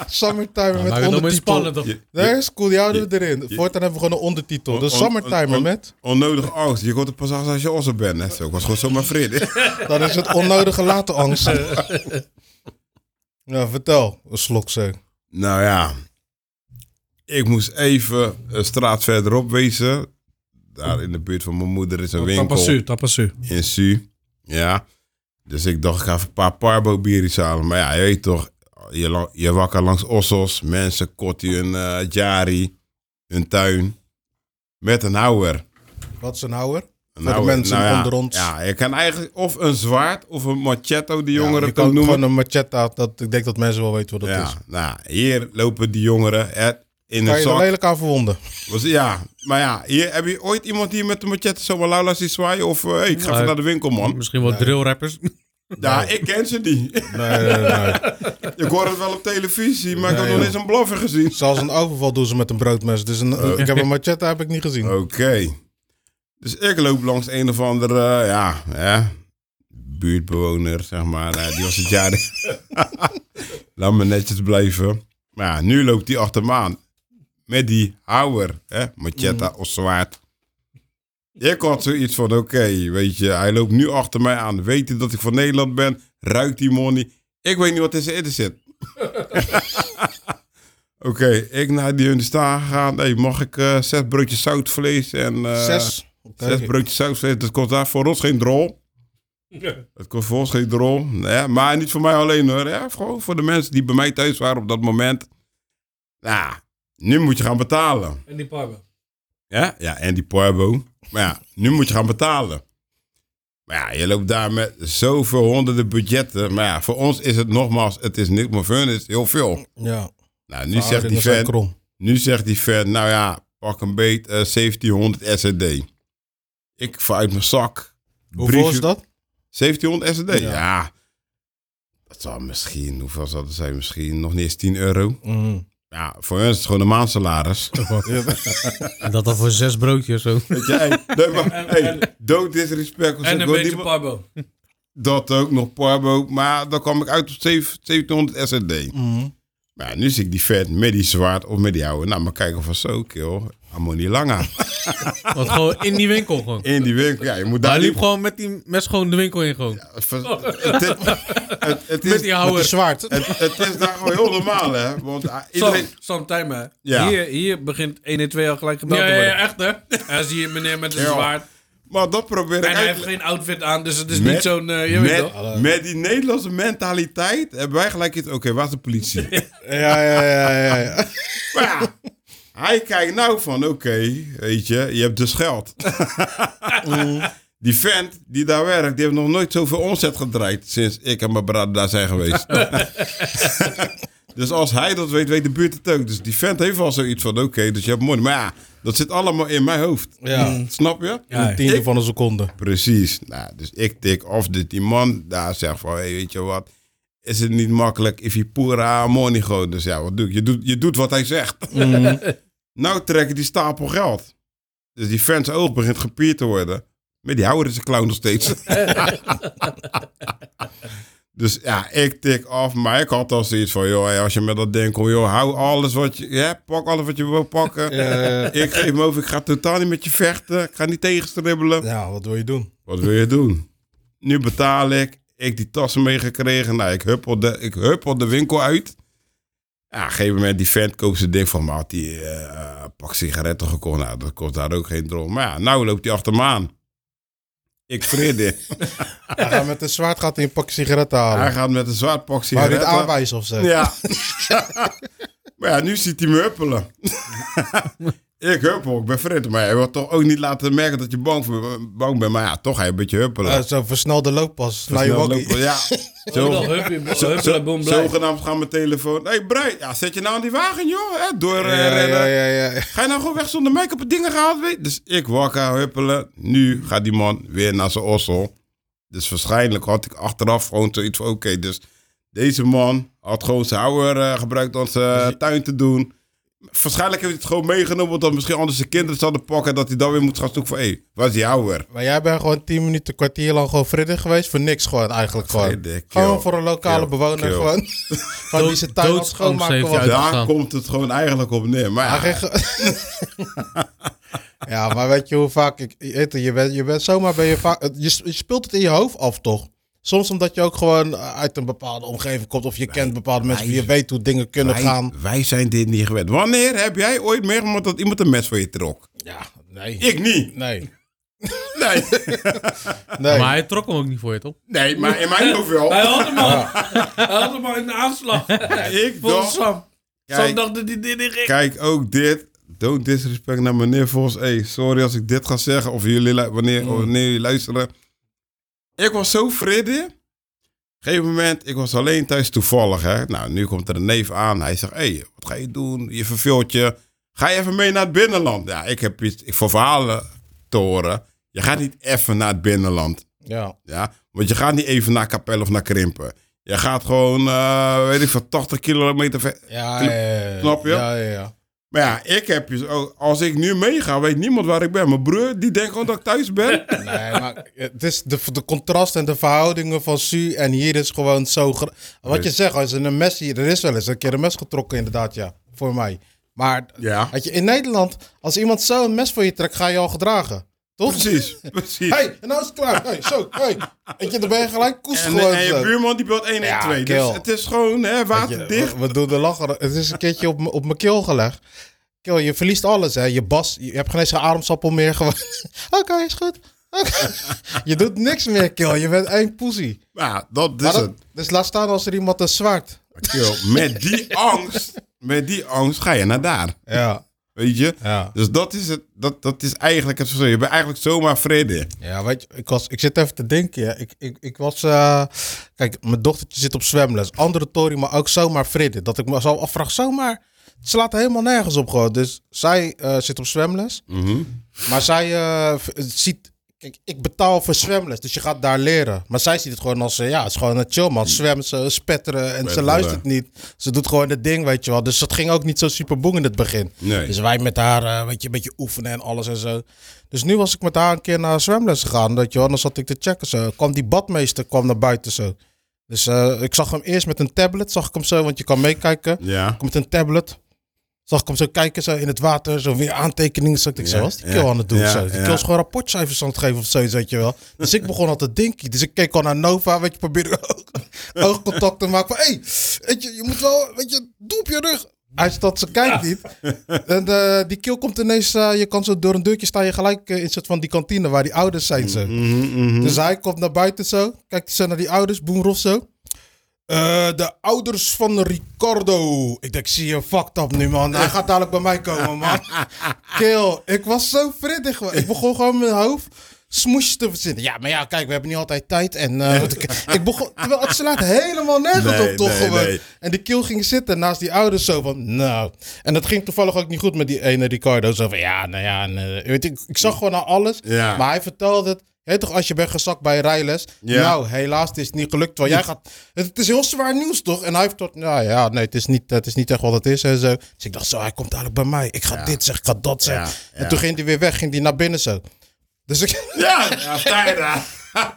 Speaker 3: Summertimer
Speaker 5: maar
Speaker 3: met
Speaker 5: we doen het
Speaker 3: ondertitel.
Speaker 5: spannend. Of...
Speaker 6: Je-
Speaker 3: Daar is cool, die houden we erin.
Speaker 6: je-
Speaker 3: Voortaan hebben we gewoon een ondertitel. De
Speaker 6: On- on-
Speaker 3: Summertimer
Speaker 6: on-
Speaker 3: met.
Speaker 6: Onnodige angst. Je komt er pas achter als je ossen bent. Hè. Zo, ik was gewoon zomaar vrede.
Speaker 3: Dan is het onnodige late angst. Ja, vertel. Een slok zo.
Speaker 6: nou ja. Ik moest even een straat verderop wezen. Daar in de buurt van mijn moeder is een winkel.
Speaker 4: Tapasu, tapasu.
Speaker 6: In Su. Ja. Dus ik dacht, ik ga even een paar parbo biertjes halen. Maar ja, je weet toch. Je, lang- je wakker langs ossos. Mensen kotten hun eh jari. Hun tuin. Met een houwer.
Speaker 3: Wat is een houwer?
Speaker 6: Nou,
Speaker 3: Voor de mensen
Speaker 6: ja,
Speaker 3: onder ons.
Speaker 6: Ja, je kan eigenlijk of een zwaard of een machetto, die
Speaker 3: Ja,
Speaker 6: jongeren
Speaker 3: je
Speaker 6: kan
Speaker 3: kan
Speaker 6: noemen.
Speaker 3: gewoon een machetta. Dat, ik denk dat mensen wel weten wat dat
Speaker 6: ja,
Speaker 3: is.
Speaker 6: nou, hier lopen die jongeren hè, in
Speaker 3: Kan
Speaker 6: een
Speaker 3: je er
Speaker 6: zak.
Speaker 3: lelijk aan verwonden?
Speaker 6: Was- ja, maar ja, hier, heb je ooit iemand die met een machette zomaar lauw laat zien zwaaien? Of eh, hey, ik ga even
Speaker 5: Nee.
Speaker 6: naar de winkel, man.
Speaker 5: Misschien wel drillrappers.
Speaker 6: Ja, ik ken ze niet.
Speaker 3: Nee, nee, nee. nee.
Speaker 6: ik hoor het wel op televisie, maar ik
Speaker 3: Nee,
Speaker 6: heb nog
Speaker 3: joh.
Speaker 6: eens een blaffer gezien.
Speaker 3: Zelfs een overval doen ze met een broodmes. Dus een, ik heb een machetta heb ik niet gezien.
Speaker 6: Oké. Dus ik loop langs een of andere, eh, ja, hè, buurtbewoner, zeg maar. eh, die was het jaar. Laat me netjes blijven. Maar ja, nu loopt die achter me aan. Met die houwer, hè, machetta of zwaard. Ik had zoiets van, oké, weet je, hij loopt nu achter mij aan. Weet hij dat ik van Nederland ben? Ruikt die money? Ik weet niet wat in zijn eten zit. oké, ik naar die hun staan gegaan. Hey, mag ik eh, zes broodjes zoutvlees en... eh,
Speaker 3: Zes. Oké.
Speaker 6: Zes broodjes sausvlees, dat kost daar voor ons geen drol. Het kost voor ons geen drol. Ja, maar niet voor mij alleen hoor. Ja, gewoon voor de mensen die bij mij thuis waren op dat moment. Nou, nu moet je gaan betalen.
Speaker 4: En die parmen.
Speaker 6: Ja, ja en die Porbo. Maar ja, nu moet je gaan betalen. Maar ja, je loopt daar met zoveel honderden budgetten. Maar ja, voor ons is het nogmaals, het is niks, maar voor hun is het heel veel.
Speaker 3: Ja.
Speaker 6: Nou, nu zegt die
Speaker 3: Verhoudingen zijn
Speaker 6: vent,
Speaker 3: krom.
Speaker 6: nu zegt die vent, nou ja, pak een beet eh, 1700 SED. Ik vaar uit mijn zak.
Speaker 3: Hoeveel
Speaker 6: briefje-
Speaker 3: is dat?
Speaker 6: 1700 SED, ja.
Speaker 3: Ja.
Speaker 6: Dat zou misschien, hoeveel zou dat zijn? Misschien nog niet eens 10 euro.
Speaker 3: Mhm.
Speaker 6: Ja, voor hun is het gewoon een maandsalaris.
Speaker 5: En dat dan voor zes broodjes zo.
Speaker 6: Weet je, hey, nee, maar,
Speaker 4: En-
Speaker 6: hey,
Speaker 4: en-
Speaker 6: don't disrespect. want
Speaker 4: En
Speaker 6: ik
Speaker 4: een
Speaker 6: wil
Speaker 4: beetje
Speaker 6: niemand-
Speaker 4: parbo.
Speaker 6: Dat ook, nog Parbo. Maar dan kwam ik uit op 7- 1700 SED.
Speaker 3: Mhm.
Speaker 6: Maar ja, nu zie ik die vet met die zwaard of met die oude. Nou, maar kijken of zo, kill. Ammonie Langa.
Speaker 5: Want gewoon in die winkel gewoon.
Speaker 6: In die winkel. Ja, je moet
Speaker 5: Hij
Speaker 6: daar
Speaker 5: liep gewoon met die mes gewoon de winkel in gewoon.
Speaker 6: Ver- het, is- het, het
Speaker 5: Met
Speaker 6: is,
Speaker 5: die houwer.
Speaker 3: zwaard.
Speaker 6: het, het is daar gewoon heel normaal, hè? Want ah, iedereen.
Speaker 4: Samtijmen.
Speaker 6: Ja.
Speaker 4: Hier, hier begint 1 en 2 al gelijk gebeld
Speaker 5: Ja,
Speaker 4: te
Speaker 5: ja,
Speaker 4: worden.
Speaker 5: ja, echt hè.
Speaker 4: Hij zie je meneer met een
Speaker 6: Ja.
Speaker 4: zwaard.
Speaker 6: Maar dat probeer ik
Speaker 4: En hij heeft
Speaker 6: eigenlijk.
Speaker 4: geen outfit aan, dus het is
Speaker 6: Met-
Speaker 4: niet zo'n... eh, je weet toch?
Speaker 6: Met, met die Nederlandse mentaliteit hebben wij gelijk iets. Oké, waar is de politie?
Speaker 3: Ja, ja, ja, ja. ja.
Speaker 6: maar ja, hij kijkt nou van: oké, weet je, je hebt dus geld. Mm. die vent die daar werkt, die heeft nog nooit zoveel omzet gedraaid sinds ik en mijn broer daar zijn geweest. dus als hij dat weet, weet de buurt het ook. Dus die vent heeft al zoiets van: oké, dus je hebt money. Maar ja, dat zit allemaal in mijn hoofd.
Speaker 3: ja.
Speaker 6: Snap je?
Speaker 3: Een tiende van een seconde.
Speaker 6: Precies. Nou, dus ik tik of dit die man daar zegt van, hey, weet je wat, is het niet makkelijk if je pura money gooit? Dus ja, wat doe ik? Je doet, je doet wat hij zegt. nou trekken die stapel geld. Dus die fans oog begint gepierd te worden. Maar die houden ze clown nog steeds. dus ja, ik tik af. Maar ik had al zoiets van, joh, hey, als je met dat ding komt, joh, hou alles wat je hebt, pak alles wat je wil pakken. Ik geef me over, ik ga totaal niet met je vechten. Ik ga niet tegenstribbelen.
Speaker 3: Ja, wat wil je doen?
Speaker 6: Wat wil je doen? Nu betaal ik. Ik die tassen meegekregen. Nou, ik huppel de, ik huppel de winkel uit. Ja, op een gegeven moment die vent koopt zijn ding van me. Had die eh, pak sigaretten gekocht. Nou, dat kost daar ook geen drol. Maar ja, nou loopt hij achter me aan. Ik vreer dit.
Speaker 3: Hij gaat met een zwaard gaat hij een pak sigaretten
Speaker 6: Hij
Speaker 3: halen.
Speaker 6: gaat met een zwaard pak
Speaker 3: Maar
Speaker 6: sigaretten.
Speaker 3: niet aanwijzen of zo.
Speaker 6: Ja. maar ja, nu ziet hij me huppelen. ik huppel, ik ben vreemd. Maar je wil toch ook niet laten merken dat je bang, voor, bang bent. Maar ja, toch ga je een beetje huppelen.
Speaker 3: Eh, Zo'n versnelde looppas. Naar je
Speaker 6: Snel
Speaker 3: wakkie.
Speaker 6: Dus lopen, ja. Zo,
Speaker 4: Oh, huppie,
Speaker 6: Zo-
Speaker 4: huppie, boom,
Speaker 6: zo-
Speaker 4: blij.
Speaker 6: Zogenaamd gaan mijn telefoon. Hé, hey, Brei, ja, zet je nou aan die wagen, joh. Hè? Door eh,
Speaker 3: Ja,
Speaker 6: rennen.
Speaker 3: ja, ja, ja.
Speaker 6: Ga je nou gewoon weg zonder make-up en dingen gehaald? Weet? Dus ik wakker, huppelen. Nu gaat die man weer naar zijn ossel. Dus waarschijnlijk had ik achteraf gewoon zoiets van... Oké,
Speaker 3: Dus
Speaker 6: dus deze man had gewoon zijn houwer eh, gebruikt om zijn tuin te doen. Waarschijnlijk heeft hij het gewoon meegenomen, omdat misschien anders de kinderen zouden pakken. en Dat hij dan weer moet gaan zoeken van, hé, hey, waar is jouw weer?
Speaker 3: Maar jij bent gewoon 10 minuten, kwartier lang gewoon vredig geweest. Voor niks gewoon eigenlijk gewoon. gewoon voor een lokale
Speaker 6: kill,
Speaker 3: bewoner
Speaker 6: kill.
Speaker 3: gewoon. Gewoon die zijn tuin aan het
Speaker 5: doodangst
Speaker 3: schoonmaken
Speaker 5: heeft
Speaker 3: was.
Speaker 5: hij uit-
Speaker 6: Daar
Speaker 5: uitgestaan.
Speaker 6: komt het gewoon eigenlijk op neer.
Speaker 3: Ja,
Speaker 6: Maar ja,
Speaker 3: geen ge- ja, maar weet je hoe vaak ik. je weet het, Je bent, je bent zomaar ben je vaak. het- Je, je speelt het in je hoofd af, toch? Soms omdat je ook gewoon eh, uit een bepaalde omgeving komt. Of je kent bepaalde mensen.
Speaker 6: wij-
Speaker 3: Je weet hoe dingen kunnen
Speaker 6: wij,
Speaker 3: gaan.
Speaker 6: wij zijn dit niet gewend. Wanneer heb jij ooit meegemaakt dat iemand een mes voor je trok?
Speaker 3: Ja, nee.
Speaker 6: Ik niet.
Speaker 3: Nee.
Speaker 6: Nee,
Speaker 3: nee.
Speaker 5: Maar hij trok hem ook niet voor je, toch?
Speaker 6: nee maar in mijn hoofd wel.
Speaker 4: Hij had hem al. Hij had hem al in de aanslag.
Speaker 6: Ik
Speaker 4: Volgens
Speaker 6: dacht,
Speaker 4: Sam. Sam
Speaker 6: Kijk.
Speaker 4: dacht dat hij dit niet ging.
Speaker 6: Kijk, ook dit. Don't disrespect naar meneer Vos. Hey, sorry als ik dit ga zeggen. Of jullie, lu-
Speaker 3: Mm.
Speaker 6: wanneer, wanneer jullie luisteren. Ik was zo vredig. Op een gegeven moment, ik was alleen thuis toevallig. Hè? Nou, nu komt er een neef aan. Hij zegt, hey, wat ga je doen? Je verveelt je. Ga je even mee naar het binnenland? Ja, ik heb iets ik, voor verhalen te horen. Je gaat niet even naar het binnenland.
Speaker 3: Ja.
Speaker 6: Ja? Want je gaat niet even naar Kapel of naar Krimpen. Je gaat gewoon, eh, weet ik veel, 80 kilometer ver,
Speaker 3: Ja, ja, ja, ja.
Speaker 6: Snap je?
Speaker 3: Ja, ja, ja.
Speaker 6: maar ja, ik heb je zo- als ik nu meega, weet niemand waar ik ben. Mijn broer, die denkt gewoon dat ik thuis ben.
Speaker 3: Nee, maar het is de, de contrast en de verhoudingen van Su en hier is gewoon zo. gro- Wat je zegt, als er een mes hier, er is wel eens een keer een mes getrokken, inderdaad, ja, voor mij. Maar
Speaker 6: Ja.
Speaker 3: weet je, in Nederland, als iemand zo een mes voor je trekt, ga je al gedragen. Toch?
Speaker 6: Precies, precies.
Speaker 3: hey, en nou is het klaar. Hey, zo, hey. Weet je, dan ben je gelijk koest
Speaker 6: en,
Speaker 3: gewoon.
Speaker 6: en
Speaker 3: zo.
Speaker 6: je buurman die belt 112.
Speaker 3: Ja,
Speaker 6: dus
Speaker 3: kill.
Speaker 6: het is gewoon hè,
Speaker 3: Weet
Speaker 6: waterdicht.
Speaker 3: je, we, we doen de lachen. Het is een keertje op, m- op mijn keel gelegd. Kill, je verliest alles, hè. Je bas, je hebt geen eens een ademsappel meer. Gewoon. Oké, is goed. Oké. je doet niks meer, kill. Je bent één poesie.
Speaker 6: ja, dat is
Speaker 3: Maar dat-
Speaker 6: het.
Speaker 3: Dus laat staan als er iemand een zwaard.
Speaker 6: Kill. Met die angst, met die angst ga je naar daar.
Speaker 3: Ja,
Speaker 6: Weet je?
Speaker 3: ja.
Speaker 6: Dus dat is, het, dat, dat is eigenlijk het verschil. Je bent eigenlijk zomaar vrede.
Speaker 3: Ja, weet je, ik, was, ik zit even te denken. hè. Ik, ik, ik was. eh, kijk, mijn dochtertje zit op zwemles. Andere Tory, maar ook zomaar Fridden. Dat ik me zo afvraag, zomaar. Het slaat helemaal nergens op gewoon. Dus zij eh, zit op zwemles. Maar zij eh, v- ziet. Kijk, ik betaal voor zwemles, dus je gaat daar leren. Maar zij ziet het gewoon als, eh, ja, het is gewoon een chill man. Zwemmen, ze spetteren en ze
Speaker 6: Spetteren.
Speaker 3: luistert niet. Ze doet gewoon het ding, weet je wel. Dus dat ging ook niet zo super boem in het begin.
Speaker 6: Nee.
Speaker 3: Dus wij met haar, eh, weet je, een beetje oefenen en alles en zo. Dus nu was ik met haar een keer naar zwemles gegaan, weet je wel. Dan zat ik te checken zo. Kwam die badmeester kwam naar buiten zo. Dus eh, ik zag hem eerst met een tablet, zag ik hem zo, want je kan meekijken.
Speaker 6: Ja.
Speaker 3: Ik met een tablet. Zag ik hem zo kijken zo in het water, zo weer aantekeningen. Zo, ik denk,
Speaker 6: Ja,
Speaker 3: zo, wat is die
Speaker 6: ja,
Speaker 3: kill aan het doen?
Speaker 6: ja,
Speaker 3: zo. Die
Speaker 6: ja.
Speaker 3: kill is gewoon rapportcijfers aan het geven of zoiets, weet je wel. Dus ik begon al te denken. Dus ik keek al naar Nova, weet je, probeerde ook oogcontact te maken. Van, hey, weet je, je moet wel, weet je, doe op je rug. Hij staat, ze kijkt niet. En eh, die kill komt ineens, eh, je kan zo door een deurtje sta je gelijk eh, in een soort van die kantine waar die ouders zijn zo.
Speaker 6: Mhm.
Speaker 3: Dus hij komt naar buiten zo, kijkt zo naar die ouders, Boemrof zo. Eh, de ouders van Ricardo. Ik denk, zie je, fucked up nu, man. Hij gaat dadelijk bij mij komen, man. Kill. Ik was zo frittig, man. Ik begon gewoon mijn hoofd smoesjes te verzinnen. Ja, maar ja, kijk, we hebben niet altijd tijd. En eh, wat ik, ik begon... Terwijl het slaat helemaal nergens
Speaker 6: Nee,
Speaker 3: op, toch?
Speaker 6: nee,
Speaker 3: gewoon.
Speaker 6: nee.
Speaker 3: En die kill ging zitten naast die ouders zo van, nou... En dat ging toevallig ook niet goed met die ene Ricardo. Zo van, ja, nou ja... En, eh, weet je, ik, ik zag gewoon aan alles.
Speaker 6: Ja.
Speaker 3: Maar hij vertelde het... Hé, toch, als je bent gezakt bij rijles.
Speaker 6: Ja.
Speaker 3: Nou, helaas, het is niet gelukt. Terwijl jij gaat... Het, het is heel zwaar nieuws, toch? En hij heeft tot... Nou ja, nee, het is niet, het is niet echt wat het is en zo. Dus ik dacht zo, hij komt dadelijk bij mij. Ik ga dit zeggen, ik ga dat zeggen.
Speaker 6: Ja, ja.
Speaker 3: En toen ging hij weer weg, ging hij naar binnen zo. Dus ik...
Speaker 6: Ja, ja, sta je daar.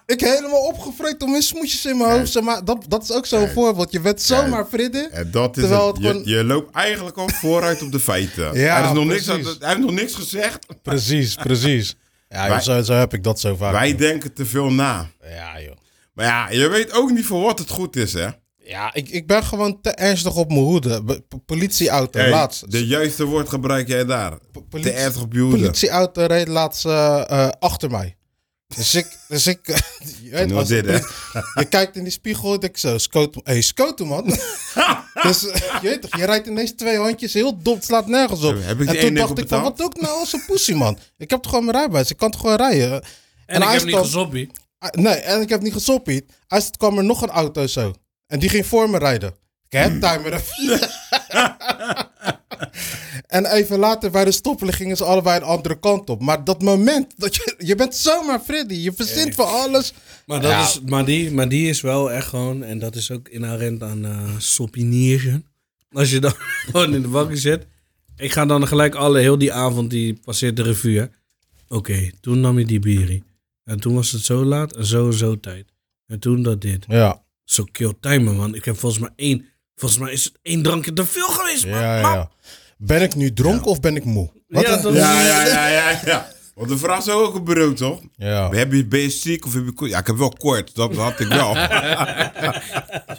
Speaker 3: Ik helemaal opgevreten om in smoesjes in mijn hoofd. zeg Maar dat, dat is ook zo'n voorbeeld. Je bent zomaar fridden.
Speaker 6: En dat is
Speaker 3: Terwijl
Speaker 6: het.
Speaker 3: het
Speaker 6: Je,
Speaker 3: gewoon-
Speaker 6: je loopt eigenlijk al vooruit op de feiten.
Speaker 3: Ja,
Speaker 6: er is nog niks,
Speaker 3: precies.
Speaker 6: aan- hij heeft nog niks gezegd.
Speaker 3: Precies, precies. Ja, joh,
Speaker 6: Wij-
Speaker 3: zo, zo heb ik dat zo vaak.
Speaker 6: Wij denken te veel na.
Speaker 3: Ja, joh.
Speaker 6: Maar ja, je weet ook niet voor wat het goed is, hè?
Speaker 3: Ja, ik, ik ben gewoon te ernstig op mijn hoede. Be- p- Politieauto,
Speaker 6: Hey,
Speaker 3: laatst.
Speaker 6: De juiste woord gebruik jij daar.
Speaker 3: politie-
Speaker 6: Te erg op je hoede.
Speaker 3: politieauto reed laatst eh, eh, achter mij. Dus ik... Dus ik je, weet,
Speaker 6: Nou,
Speaker 3: als de
Speaker 6: dit, hè?
Speaker 3: politie- je kijkt in die spiegel en ik zo... Scoot, hey, scoten, man. dus eh, je weet toch, je rijdt ineens twee handjes heel dom. Het slaat nergens op.
Speaker 6: Heb ik die
Speaker 3: en toen
Speaker 6: ene
Speaker 3: dacht
Speaker 6: op
Speaker 3: ik van,
Speaker 6: betaald?
Speaker 3: wat doe ik nou als een poesie, man? Ik heb toch gewoon mijn rijbewijs. Ik kan toch gewoon rijden?
Speaker 4: En ik
Speaker 3: hij
Speaker 4: heb niet
Speaker 3: stond-
Speaker 4: gezoppie.
Speaker 3: Ah, Nee, en ik heb niet gesoppied. Als het kwam er nog een auto zo. En die ging voor me rijden. Ik
Speaker 5: Hmm.
Speaker 3: heb timer even. en even later bij de stoppelen gingen ze allebei de andere kant op. Maar dat moment, dat je, je bent zomaar Freddy. Je verzint van alles.
Speaker 4: Maar, dat
Speaker 3: Ja.
Speaker 4: is, maar, die, maar die is wel echt gewoon, en dat is ook inherent aan eh soppiniersen. Als je dan gewoon in de wakker zit Ik ga dan gelijk alle, heel die avond, die passeert de revue. hè. Oké, toen nam je die bierie. En toen was het zo laat en zo en zo tijd. En toen dat dit.
Speaker 3: Ja,
Speaker 4: Zo kill timer, man. Ik heb volgens mij één, volgens mij is het één drankje te veel geweest, man.
Speaker 3: ja,
Speaker 4: Man.
Speaker 3: ja. Ben ik nu dronken of ben ik moe? Wat
Speaker 4: Ja,
Speaker 3: een-
Speaker 4: dat-
Speaker 6: Ja, ja, ja, ja, ja. Want de vraag zou ook een bureau, toch?
Speaker 3: ja.
Speaker 6: Heb je, ben je ziek of heb je koorts? Ja, ik heb wel koorts. Dat had ik wel.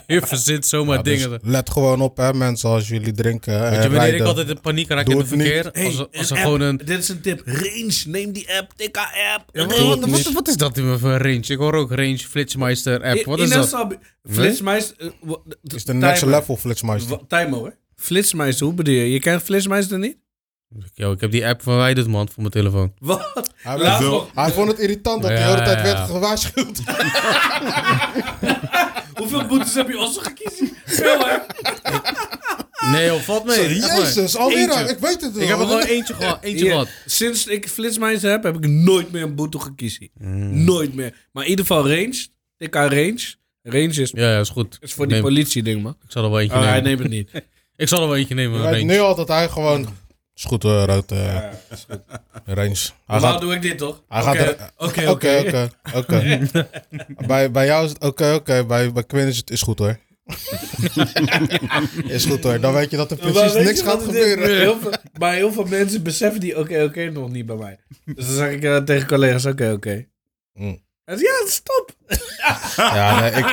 Speaker 5: Je verzint zomaar
Speaker 3: Ja, dus
Speaker 5: dingen.
Speaker 3: let gewoon op, hè, mensen, als jullie drinken. hè,
Speaker 5: Weet je
Speaker 3: en
Speaker 5: wanneer ik
Speaker 3: rijden.
Speaker 5: altijd in paniek raak
Speaker 3: Doe
Speaker 5: in het
Speaker 3: het niet.
Speaker 5: verkeer?
Speaker 4: Hey,
Speaker 5: als als er
Speaker 4: app.
Speaker 5: gewoon een...
Speaker 4: Dit is een tip. Range, neem die app. TK-app.
Speaker 5: Wat, wat, wat is dat nu voor een range? Ik hoor ook range, flitsmeister app. Wat is dat?
Speaker 4: Flitsmeister. eh,
Speaker 3: Is de next level flitsmeister.
Speaker 4: Timo, hè? Flitsmeister, hoe bedoel je? Je kent Flitsmeister niet?
Speaker 5: Yo, ik heb die app van dit man, voor mijn telefoon.
Speaker 4: Wat?
Speaker 3: Hij,
Speaker 4: Laat
Speaker 3: wil-
Speaker 4: nog-
Speaker 3: hij vond het irritant dat hij
Speaker 5: Ja,
Speaker 3: de hele tijd
Speaker 5: ja.
Speaker 3: werd gewaarschuwd.
Speaker 4: Hoeveel boetes heb je als gekiezd? Veel, hè?
Speaker 5: Nee joh, valt mee. Echt waar.
Speaker 3: Jezus, alweer.
Speaker 5: Eentje.
Speaker 3: Ik weet het wel.
Speaker 5: Ik heb er gewoon eentje gehad. Eentje
Speaker 4: Hier,
Speaker 5: gehad.
Speaker 4: Sinds ik Flitsmeister heb, heb ik nooit meer een boete gekiezen.
Speaker 3: Hmm.
Speaker 4: Nooit meer. Maar in ieder geval range. TK range. Range is,
Speaker 5: Ja, ja, is goed.
Speaker 4: is voor die
Speaker 5: Neem-
Speaker 4: politie ding, man.
Speaker 5: Ik zal er wel eentje
Speaker 4: Oh, hij
Speaker 5: nemen.
Speaker 4: neemt het niet.
Speaker 5: Ik zal er wel eentje nemen.
Speaker 3: Je weet
Speaker 5: range.
Speaker 3: nu al dat hij gewoon... Is goed, eh Rood. eh, Range. Hij
Speaker 4: Normaal
Speaker 3: gaat...
Speaker 4: doe ik dit, toch?
Speaker 3: Hij gaat
Speaker 4: Oké,
Speaker 3: er-
Speaker 4: Oké,
Speaker 3: Oké,
Speaker 4: oké.
Speaker 3: oké, oké. Bij- Bij jou is het oké, oké. Bij, bij Quinn is het is goed hoor. is goed hoor. Dan weet je dat er precies
Speaker 4: Maar weet
Speaker 3: niks
Speaker 4: je
Speaker 3: gaat
Speaker 4: wat het is?
Speaker 3: gebeuren.
Speaker 4: Heel veel, maar heel veel mensen beseffen die oké, oké nog niet bij mij. Dus dan zeg ik eh, tegen collega's, oké, oké.
Speaker 3: Mm.
Speaker 4: Hij zegt, Ja, stop.
Speaker 3: Ja, nee, ik,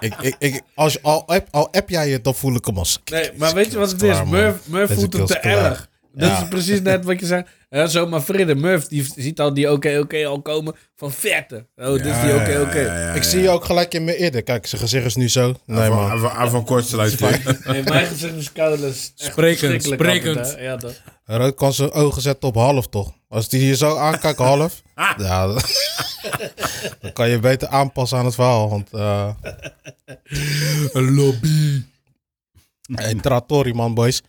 Speaker 3: ik, ik, ik, als, je- al, app, al app jij het, dan voel ik hem als...
Speaker 4: Nee, maar weet je wat het
Speaker 3: klaar,
Speaker 4: is?
Speaker 3: man.
Speaker 4: Murph, Murph
Speaker 3: Deze
Speaker 4: voelt het te
Speaker 3: kill is klaar.
Speaker 4: erg. Dat
Speaker 3: Ja.
Speaker 4: is precies net wat je zegt. Ja, zo, maar Fridde, Murph, die ziet al die oké, oké al komen van verte. Oh, dit is die oké, oké.
Speaker 3: Ik zie je ook gelijk in mijn eerder. Kijk, zijn gezicht is nu zo. Nee man.
Speaker 6: Aan van kortsluiting.
Speaker 4: Nee, mijn gezicht is koud. dat is echt
Speaker 5: Sprekend,
Speaker 4: verschrikkelijk
Speaker 5: sprekend.
Speaker 4: altijd, hè. ja, dat.
Speaker 3: Rood kan zijn ogen zetten op half, toch? Als die hier zo aankijkt, half. Ja,
Speaker 4: Ah.
Speaker 3: dan- dan kan je beter aanpassen aan het verhaal. Want. eh
Speaker 4: Lobby.
Speaker 3: hey, Trattori, man, boys.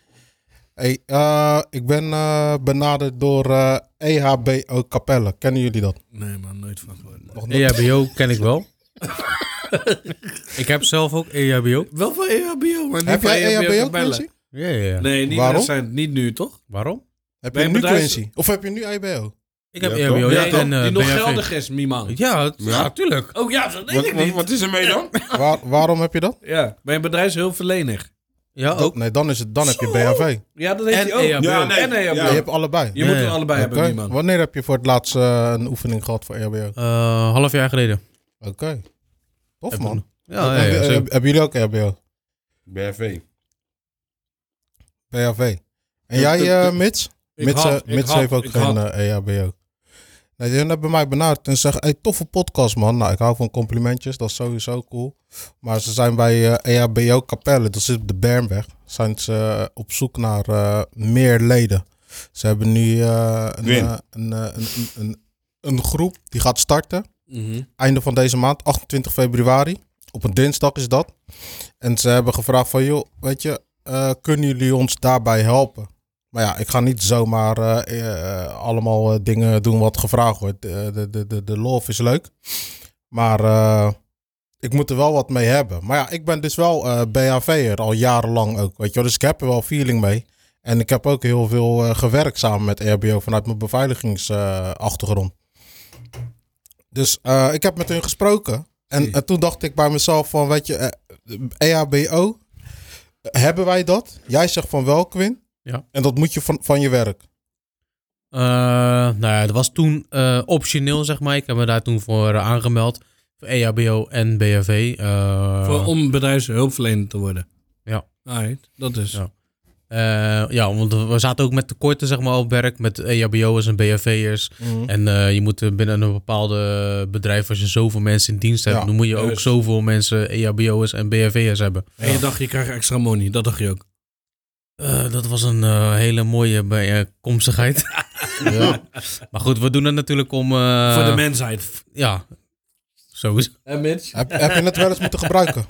Speaker 3: Hey, eh, ik ben eh, benaderd door eh, EHBO Capelle. Kennen jullie dat?
Speaker 4: Nee man, nooit van gehoord.
Speaker 3: Nog nooit?
Speaker 5: EHBO ken ik wel. ik heb zelf ook EHBO.
Speaker 4: Wel van E EHBO, maar niet
Speaker 3: Heb
Speaker 4: van E
Speaker 3: jij E EHBO,
Speaker 4: Capella.
Speaker 3: Quincy?
Speaker 5: Ja, ja, ja.
Speaker 4: Nee, niet,
Speaker 3: Waarom?
Speaker 4: recent, niet nu toch?
Speaker 5: Waarom?
Speaker 3: Heb
Speaker 4: Bij
Speaker 3: je
Speaker 4: een
Speaker 3: nu
Speaker 4: bedrijf-
Speaker 3: Quincy? Of heb je nu E EHBO?
Speaker 5: Ik heb
Speaker 6: Ja,
Speaker 5: EHBO,
Speaker 6: toch?
Speaker 5: ja.
Speaker 6: Ja,
Speaker 4: die
Speaker 5: en, eh,
Speaker 4: nog
Speaker 5: BHV.
Speaker 4: geldig is, Miman.
Speaker 5: Ja, het- ja, tuurlijk.
Speaker 4: Oh ja, dat denk
Speaker 6: Wat,
Speaker 4: ik
Speaker 6: wat,
Speaker 4: niet.
Speaker 6: wat is er mee dan?
Speaker 3: Waar, waarom heb je dat?
Speaker 4: Ja, mijn bedrijf is heel verlenig.
Speaker 5: Ja, ook.
Speaker 3: Nee, dan, is het, dan heb je BHV.
Speaker 4: Ja, dat heeft
Speaker 5: En E
Speaker 4: hij ook.
Speaker 5: EHBO.
Speaker 6: Ja, nee.
Speaker 4: En E EHBO.
Speaker 3: Je hebt allebei.
Speaker 4: Je moet
Speaker 5: Ja,
Speaker 4: er
Speaker 5: ja.
Speaker 4: allebei
Speaker 3: Oké.
Speaker 4: hebben, Miman.
Speaker 3: Wanneer heb je voor het laatst eh, een oefening gehad voor EHBO? Oké.
Speaker 5: Eh, half jaar geleden.
Speaker 3: Tof, man.
Speaker 5: Ah, Ja, ja,
Speaker 3: Heb-
Speaker 5: ja,
Speaker 4: eh,
Speaker 3: heb-
Speaker 5: zeker.
Speaker 3: hebben jullie ook EHBO?
Speaker 6: BRV.
Speaker 3: PHV. En jij, eh, Mits?
Speaker 4: Ik
Speaker 3: Mits,
Speaker 4: had-
Speaker 3: eh,
Speaker 4: ik
Speaker 3: Mits
Speaker 4: had-
Speaker 3: heeft ook
Speaker 4: ik
Speaker 3: geen
Speaker 4: had-
Speaker 3: eh, EHBO. Nee, die hebben mij benaderd en zeggen, hey, toffe podcast, man. Nou, ik hou van complimentjes, dat is sowieso cool. Maar ze zijn bij eh EHBO Capelle, dat zit op de Bernweg. Zijn ze eh, op zoek naar eh, meer leden. Ze hebben nu eh, een,
Speaker 6: Win.
Speaker 3: eh, een, eh, een, een, een, een groep die gaat starten. Einde van deze maand, 28 februari. Op een dinsdag is dat. En ze hebben gevraagd van, joh, weet je, eh, kunnen jullie ons daarbij helpen? Maar ja, ik ga niet zomaar eh, eh, allemaal eh, dingen doen wat gevraagd wordt. Eh, De, de, de, de lof is leuk. Maar eh, ik moet er wel wat mee hebben. Maar ja, ik ben dus wel eh BHV'er al jarenlang ook. Weet je wel? Dus ik heb er wel feeling mee. En ik heb ook heel veel eh, gewerkt samen met RBO vanuit mijn beveiligingsachtergrond. dus eh, ik heb met hun gesproken. En, en toen dacht ik bij mezelf van, weet je, eh, EHBO, hebben wij dat? Jij zegt van wel, Quinn.
Speaker 5: Ja.
Speaker 3: En dat moet je van, van je werk.
Speaker 5: Eh, nou ja, het was toen eh, optioneel, zeg maar. Ik heb me daar toen voor eh, aangemeld. Voor E EHBO en BHV. eh,
Speaker 4: Voor, om bedrijfshulpverlener te worden.
Speaker 5: Ja.
Speaker 4: Alright, dat is.
Speaker 5: Ja. eh, ja, want we zaten ook met tekorten, zeg maar, op werk. Met E EHBO'ers en BHV'ers.
Speaker 3: Mhm.
Speaker 5: En eh, je moet eh, binnen een bepaalde bedrijf, als je zoveel mensen in dienst hebt,
Speaker 3: Ja,
Speaker 5: dan moet je ook
Speaker 4: juist.
Speaker 5: zoveel mensen E EHBO'ers en BHV'ers hebben.
Speaker 4: En je dacht, je krijgt extra money. Dat dacht je ook.
Speaker 5: Eh, dat was een eh, hele mooie bijeenkomstigheid. maar goed, we doen het natuurlijk om... eh,
Speaker 4: Voor de mensheid.
Speaker 5: Ja, sowieso.
Speaker 4: En Mitch?
Speaker 3: Heb, heb je het wel eens moeten gebruiken?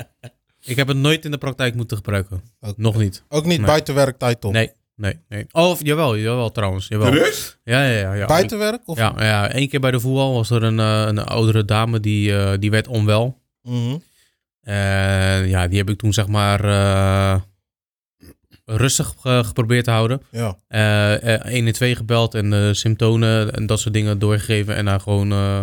Speaker 5: Ik heb het nooit in de praktijk moeten gebruiken.
Speaker 3: Oké.
Speaker 5: Nog niet.
Speaker 3: Ook niet
Speaker 5: Nee.
Speaker 3: buiten werktijd, toch?
Speaker 5: Nee, nee, nee. Of, jawel, jawel trouwens. Jawel.
Speaker 6: Rust?
Speaker 5: Ja, ja, ja. ja.
Speaker 3: Buiten werk? Of?
Speaker 5: Ja, ja, één keer bij de voetbal was er een, eh, een oudere dame die, eh, die werd onwel.
Speaker 3: Mhm.
Speaker 5: En ja, die heb ik toen zeg maar eh, rustig eh, geprobeerd te houden.
Speaker 3: Ja.
Speaker 5: eh eh, 112 gebeld en eh, symptomen en dat soort dingen doorgegeven. En haar gewoon eh,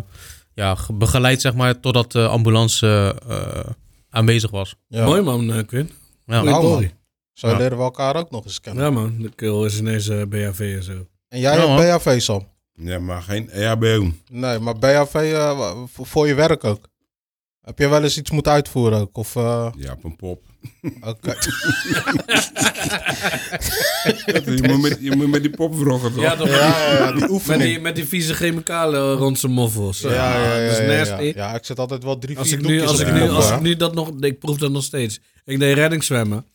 Speaker 5: ja, ge- begeleid, zeg maar, totdat de ambulance eh, eh, aanwezig was.
Speaker 3: ja.
Speaker 4: Mooi man, eh, Quinn.
Speaker 5: Ja.
Speaker 4: Goeie
Speaker 3: Nou, man.
Speaker 4: story.
Speaker 3: Zo
Speaker 5: Ja.
Speaker 3: leren we elkaar ook nog eens kennen.
Speaker 4: Ja man, de kill is ineens eh, BHV en zo.
Speaker 3: En jij
Speaker 5: Ja, man.
Speaker 3: hebt BHV, Sam?
Speaker 6: Ja, maar geen E EHBO.
Speaker 3: Nee, maar BHV eh, wa- voor voor je werk ook. Heb je wel eens iets moeten uitvoeren ook? Of, eh,
Speaker 6: Ja, op een pop.
Speaker 3: oké.
Speaker 6: je, moet met, je moet met die pop vroegen toch?
Speaker 4: toch?
Speaker 3: ja, ja, ja, die
Speaker 4: Met
Speaker 3: oefening.
Speaker 4: die, met die vieze chemicalen rond zijn moffels.
Speaker 3: Ja, ja, ja,
Speaker 4: Dat is
Speaker 3: ja, ja.
Speaker 4: nasty.
Speaker 3: Ja, ik zet altijd wel drie,
Speaker 4: Als
Speaker 3: vier
Speaker 4: ik, nu,
Speaker 3: doekjes
Speaker 4: als,
Speaker 3: op
Speaker 4: ik
Speaker 3: die
Speaker 4: nu,
Speaker 3: kop,
Speaker 4: als
Speaker 3: hè.
Speaker 4: ik nu dat nog... Ik proef dat nog steeds. Ik deed reddingszwemmen.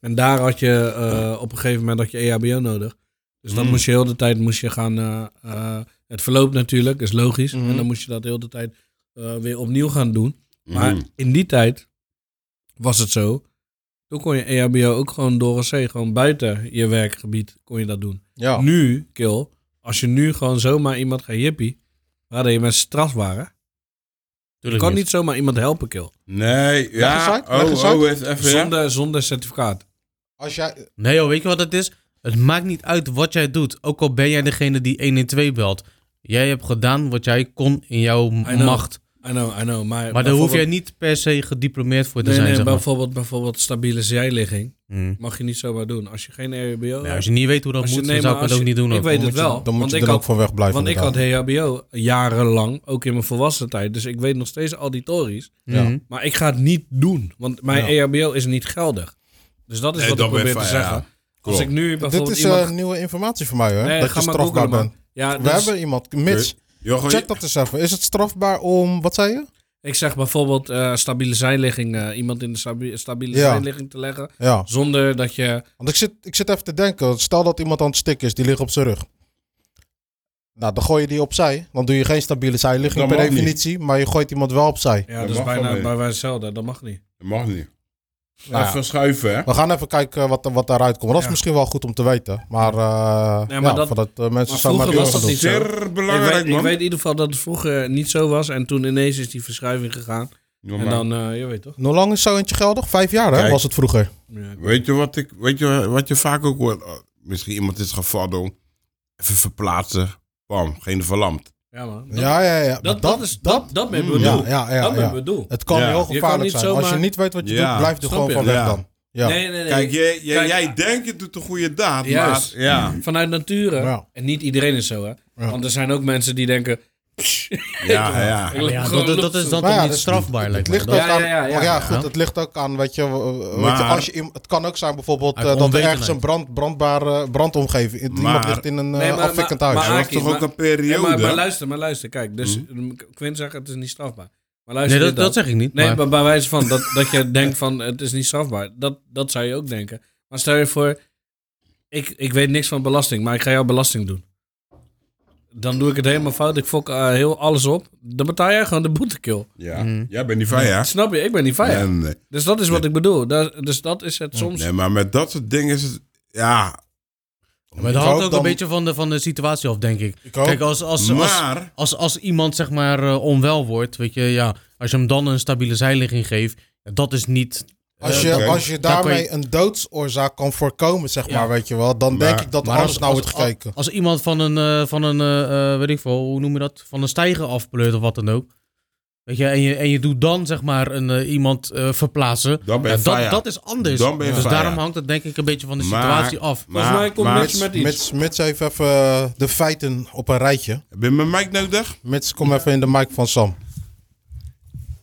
Speaker 4: En daar had je eh, op een gegeven moment had je EHBO nodig. Dus
Speaker 3: Mm.
Speaker 4: dan moest je heel de tijd moest je gaan... eh, eh, het verloop natuurlijk, is logisch.
Speaker 3: Mhm.
Speaker 4: En dan moest je dat heel de tijd eh, weer opnieuw gaan doen. Maar
Speaker 3: Mm-hmm.
Speaker 6: Mhm.
Speaker 4: in die tijd was het zo... Toen kon je E EHBO ook gewoon door een zee, gewoon buiten je werkgebied kon je dat doen.
Speaker 3: Ja.
Speaker 4: Nu, Kil, als je nu gewoon zomaar iemand gaat jippie, waar je mensen straf waren, je
Speaker 5: Tuurlijk
Speaker 4: kan niet zomaar iemand helpen, Kil.
Speaker 6: Nee, ja.
Speaker 3: eens uit, leg
Speaker 6: oh,
Speaker 3: eens
Speaker 6: oh, even, even, ja.
Speaker 4: Zonder, zonder certificaat.
Speaker 3: Als jij...
Speaker 5: Nee joh, weet je wat het is? Het maakt niet uit wat jij doet. Ook al ben jij degene die 112 belt. Jij hebt gedaan wat jij kon in jouw
Speaker 4: know.
Speaker 5: macht.
Speaker 4: I know, I know. Maar,
Speaker 5: Maar daar hoef jij niet per se gediplomeerd voor te zijn, zeg maar.
Speaker 4: bijvoorbeeld, bijvoorbeeld stabiele zijligging
Speaker 5: Hmm.
Speaker 4: mag je niet zomaar doen. Als je geen EHBO
Speaker 5: Nee,
Speaker 4: hebt.
Speaker 5: Nou, als je niet weet hoe dat
Speaker 4: Als je-
Speaker 5: moet,
Speaker 4: nee,
Speaker 5: dan zou ik
Speaker 4: maar
Speaker 5: het
Speaker 4: als
Speaker 5: ook
Speaker 4: je-
Speaker 5: niet doen.
Speaker 4: ik
Speaker 5: ook.
Speaker 4: weet het
Speaker 3: moet je-
Speaker 4: wel,
Speaker 3: Dan moet
Speaker 4: want
Speaker 3: je
Speaker 4: ik
Speaker 3: er
Speaker 4: had-
Speaker 3: ook van weg blijven.
Speaker 4: Want ik had
Speaker 3: inderdaad.
Speaker 4: EHBO jarenlang, ook in mijn volwassen tijd. Dus ik weet nog steeds al die tories.
Speaker 5: Mhm.
Speaker 3: Ja.
Speaker 4: Maar ik ga het niet doen, want mijn EHBO is niet geldig. Dus dat is
Speaker 6: Nee,
Speaker 4: wat
Speaker 6: dat
Speaker 4: ik probeer
Speaker 6: even,
Speaker 4: te
Speaker 6: ja.
Speaker 4: zeggen. Als
Speaker 6: Klopt.
Speaker 4: ik nu bijvoorbeeld
Speaker 3: Dit is
Speaker 4: iemand...
Speaker 3: eh, nieuwe informatie voor mij, hè?
Speaker 4: Nee,
Speaker 3: dat
Speaker 4: ga
Speaker 3: je
Speaker 4: maar
Speaker 3: strafbaar
Speaker 4: googlen, man.
Speaker 3: bent.
Speaker 4: Ja,
Speaker 3: We
Speaker 4: dus
Speaker 3: hebben iemand, mits.
Speaker 6: Jochem,
Speaker 3: Check dat eens even. Is het strafbaar om... Wat zei je?
Speaker 4: Ik zeg bijvoorbeeld eh, stabiele zijligging. eh, iemand in de stabi- stabiele
Speaker 3: Ja.
Speaker 4: zijligging te leggen.
Speaker 3: Ja.
Speaker 4: Zonder dat je...
Speaker 3: Want ik zit, ik zit even te denken. Stel dat iemand aan het stikken is, die ligt op zijn rug. Nou, dan gooi je die opzij. Dan doe je geen stabiele zijligging
Speaker 6: Dat
Speaker 3: per
Speaker 6: mag niet.
Speaker 3: definitie. Maar je gooit iemand wel opzij.
Speaker 4: Ja,
Speaker 6: Dat
Speaker 4: dus
Speaker 6: mag
Speaker 4: bijna
Speaker 6: wel
Speaker 4: bij
Speaker 6: niet.
Speaker 4: wijze van hetzelfde. Dat mag niet.
Speaker 6: Dat mag niet.
Speaker 3: Nou ja.
Speaker 6: even schuiven, hè.
Speaker 3: We gaan even kijken wat, wat daaruit komt. Maar dat is
Speaker 4: Ja.
Speaker 3: misschien wel goed om te weten. Maar, eh
Speaker 4: Nee, maar
Speaker 3: ja,
Speaker 4: dat-
Speaker 3: voordat eh, mensen
Speaker 4: maar
Speaker 3: zo maar
Speaker 4: vroeger was
Speaker 3: gaan
Speaker 4: dat
Speaker 3: doen.
Speaker 4: niet zo.
Speaker 6: Zeer
Speaker 4: ik,
Speaker 6: belangrijk,
Speaker 4: weet, ik
Speaker 6: man.
Speaker 4: weet in ieder geval dat het vroeger niet zo was. En toen ineens is die verschuiving gegaan.
Speaker 6: Ja,
Speaker 4: En
Speaker 6: maar
Speaker 4: dan, eh, je weet toch?
Speaker 3: Hoe lang is zo eentje geldig? Vijf jaar, hè?
Speaker 6: Kijk.
Speaker 3: Was het vroeger.
Speaker 4: Ja.
Speaker 6: Weet je wat ik, weet je wat je vaak ook hoort? Oh, Misschien iemand is gevallen, even verplaatsen, bam, geen verlamd.
Speaker 4: Ja, man. Dat,
Speaker 3: Ja, ja, ja. Maar
Speaker 4: dat, dat is... Dat, dat ben ik bedoel.
Speaker 3: ja, ja, ja,
Speaker 4: dat ben ik
Speaker 3: ja.
Speaker 4: bedoel.
Speaker 3: Het kan
Speaker 6: Ja.
Speaker 3: heel
Speaker 6: Je
Speaker 4: kan
Speaker 3: gevaarlijk
Speaker 4: niet
Speaker 3: zijn.
Speaker 4: zomaar-
Speaker 3: Als je niet weet wat je
Speaker 6: Ja.
Speaker 3: doet, blijf er
Speaker 4: Snap
Speaker 3: gewoon
Speaker 4: je?
Speaker 3: van weg
Speaker 6: Ja.
Speaker 3: dan. Ja.
Speaker 4: Nee, nee, nee.
Speaker 6: Kijk, jij, jij,
Speaker 4: Kijk, ah,
Speaker 6: jij denkt je doet een goede daad,
Speaker 4: Juist. Mm.
Speaker 6: maar ja.
Speaker 4: Vanuit nature.
Speaker 3: Ja.
Speaker 4: En niet iedereen is zo, hè. Want er zijn ook mensen die denken...
Speaker 6: Ja, ja.
Speaker 4: ik
Speaker 5: Maar
Speaker 4: loop
Speaker 5: ja,
Speaker 4: gewoon
Speaker 5: dat, dat, dat
Speaker 4: lucht-
Speaker 5: is dan
Speaker 3: Maar Nou ja,
Speaker 5: toch niet
Speaker 3: dat is-
Speaker 5: strafbaar,
Speaker 3: Het
Speaker 5: lijkt me.
Speaker 3: ligt
Speaker 5: Dat-
Speaker 3: ook
Speaker 4: Ja,
Speaker 3: aan.
Speaker 4: ja, ja, ja.
Speaker 3: maar ja, goed, het ligt ook aan. Weet je, eh, weet je,
Speaker 6: Maar-
Speaker 3: als je im- het kan ook zijn bijvoorbeeld
Speaker 5: Uit
Speaker 3: eh, dat er
Speaker 5: onwetendheid.
Speaker 3: ergens een brand, brandbare brandomgeving. iemand
Speaker 6: Maar-
Speaker 3: ligt in een eh,
Speaker 4: Nee, maar-
Speaker 3: afwikkend
Speaker 4: maar-
Speaker 3: huis.
Speaker 4: maar
Speaker 6: Er was
Speaker 4: Aki,
Speaker 6: toch ook
Speaker 4: maar-
Speaker 6: een
Speaker 4: Ja,
Speaker 6: periode?
Speaker 4: maar, maar luister, maar luister. Kijk, dus Quinn zegt het is niet strafbaar. Maar luister
Speaker 5: Mhm. Nee, dat,
Speaker 4: dit dan.
Speaker 5: dat zeg ik niet.
Speaker 4: Nee,
Speaker 5: maar-
Speaker 4: maar bij wijze van dat, dat je denkt van het is niet strafbaar. Dat, dat zou je ook denken. Maar stel je voor, ik, ik weet niks van belasting, maar ik ga jouw belasting doen. Dan doe ik het helemaal fout. Ik fok eh, heel alles op. Dan betaal jij gewoon de boetekill.
Speaker 6: ja.
Speaker 4: Mm.
Speaker 6: Jij bent niet van, ja?
Speaker 4: Snap je? Ik ben niet veilig.
Speaker 6: Nee, nee.
Speaker 4: Dus dat is wat ik bedoel. Daar- dus dat is het soms.
Speaker 6: nee, maar met dat soort dingen is het, ja.
Speaker 5: Maar dat
Speaker 3: Ik
Speaker 5: hangt
Speaker 3: hoop
Speaker 5: ook
Speaker 3: dan-
Speaker 5: een beetje van de, van de situatie af, denk ik.
Speaker 3: hoop-
Speaker 5: Kijk, als, als, als,
Speaker 6: Maar,
Speaker 5: als, als iemand zeg maar eh, onwel wordt, weet je, ja, als je hem dan een stabiele zijligging geeft, dat is niet...
Speaker 3: Als
Speaker 5: eh,
Speaker 3: je,
Speaker 6: oké.
Speaker 3: als je
Speaker 5: Dan kan
Speaker 3: daarmee
Speaker 5: je-
Speaker 3: een doodsoorzaak kan voorkomen, zeg maar, weet je wel, dan denk
Speaker 6: Maar-
Speaker 3: ik dat
Speaker 5: maar
Speaker 3: alles
Speaker 5: als-
Speaker 3: nou
Speaker 5: als-
Speaker 3: wordt gekeken.
Speaker 5: Als iemand van een, eh, van een eh, eh, weet ik veel, hoe noem je dat, van een stijger afpleurt of wat dan ook. Weet je, en je, en je doet dan zeg maar een, eh, iemand eh, verplaatsen.
Speaker 6: Dan ben je
Speaker 5: Ja, dat,
Speaker 6: fire.
Speaker 5: dat is anders.
Speaker 6: Dan ben je
Speaker 5: dus
Speaker 6: fire.
Speaker 5: daarom hangt het denk ik een beetje van de
Speaker 6: Maar-
Speaker 5: situatie af.
Speaker 6: maar-
Speaker 4: Volgens mij komt
Speaker 6: maar-
Speaker 4: Mitch met iets.
Speaker 3: Mits, mits even, even eh, de feiten op een rijtje.
Speaker 6: heb je mijn mic nodig?
Speaker 3: Mits, kom even in de mic van Sam.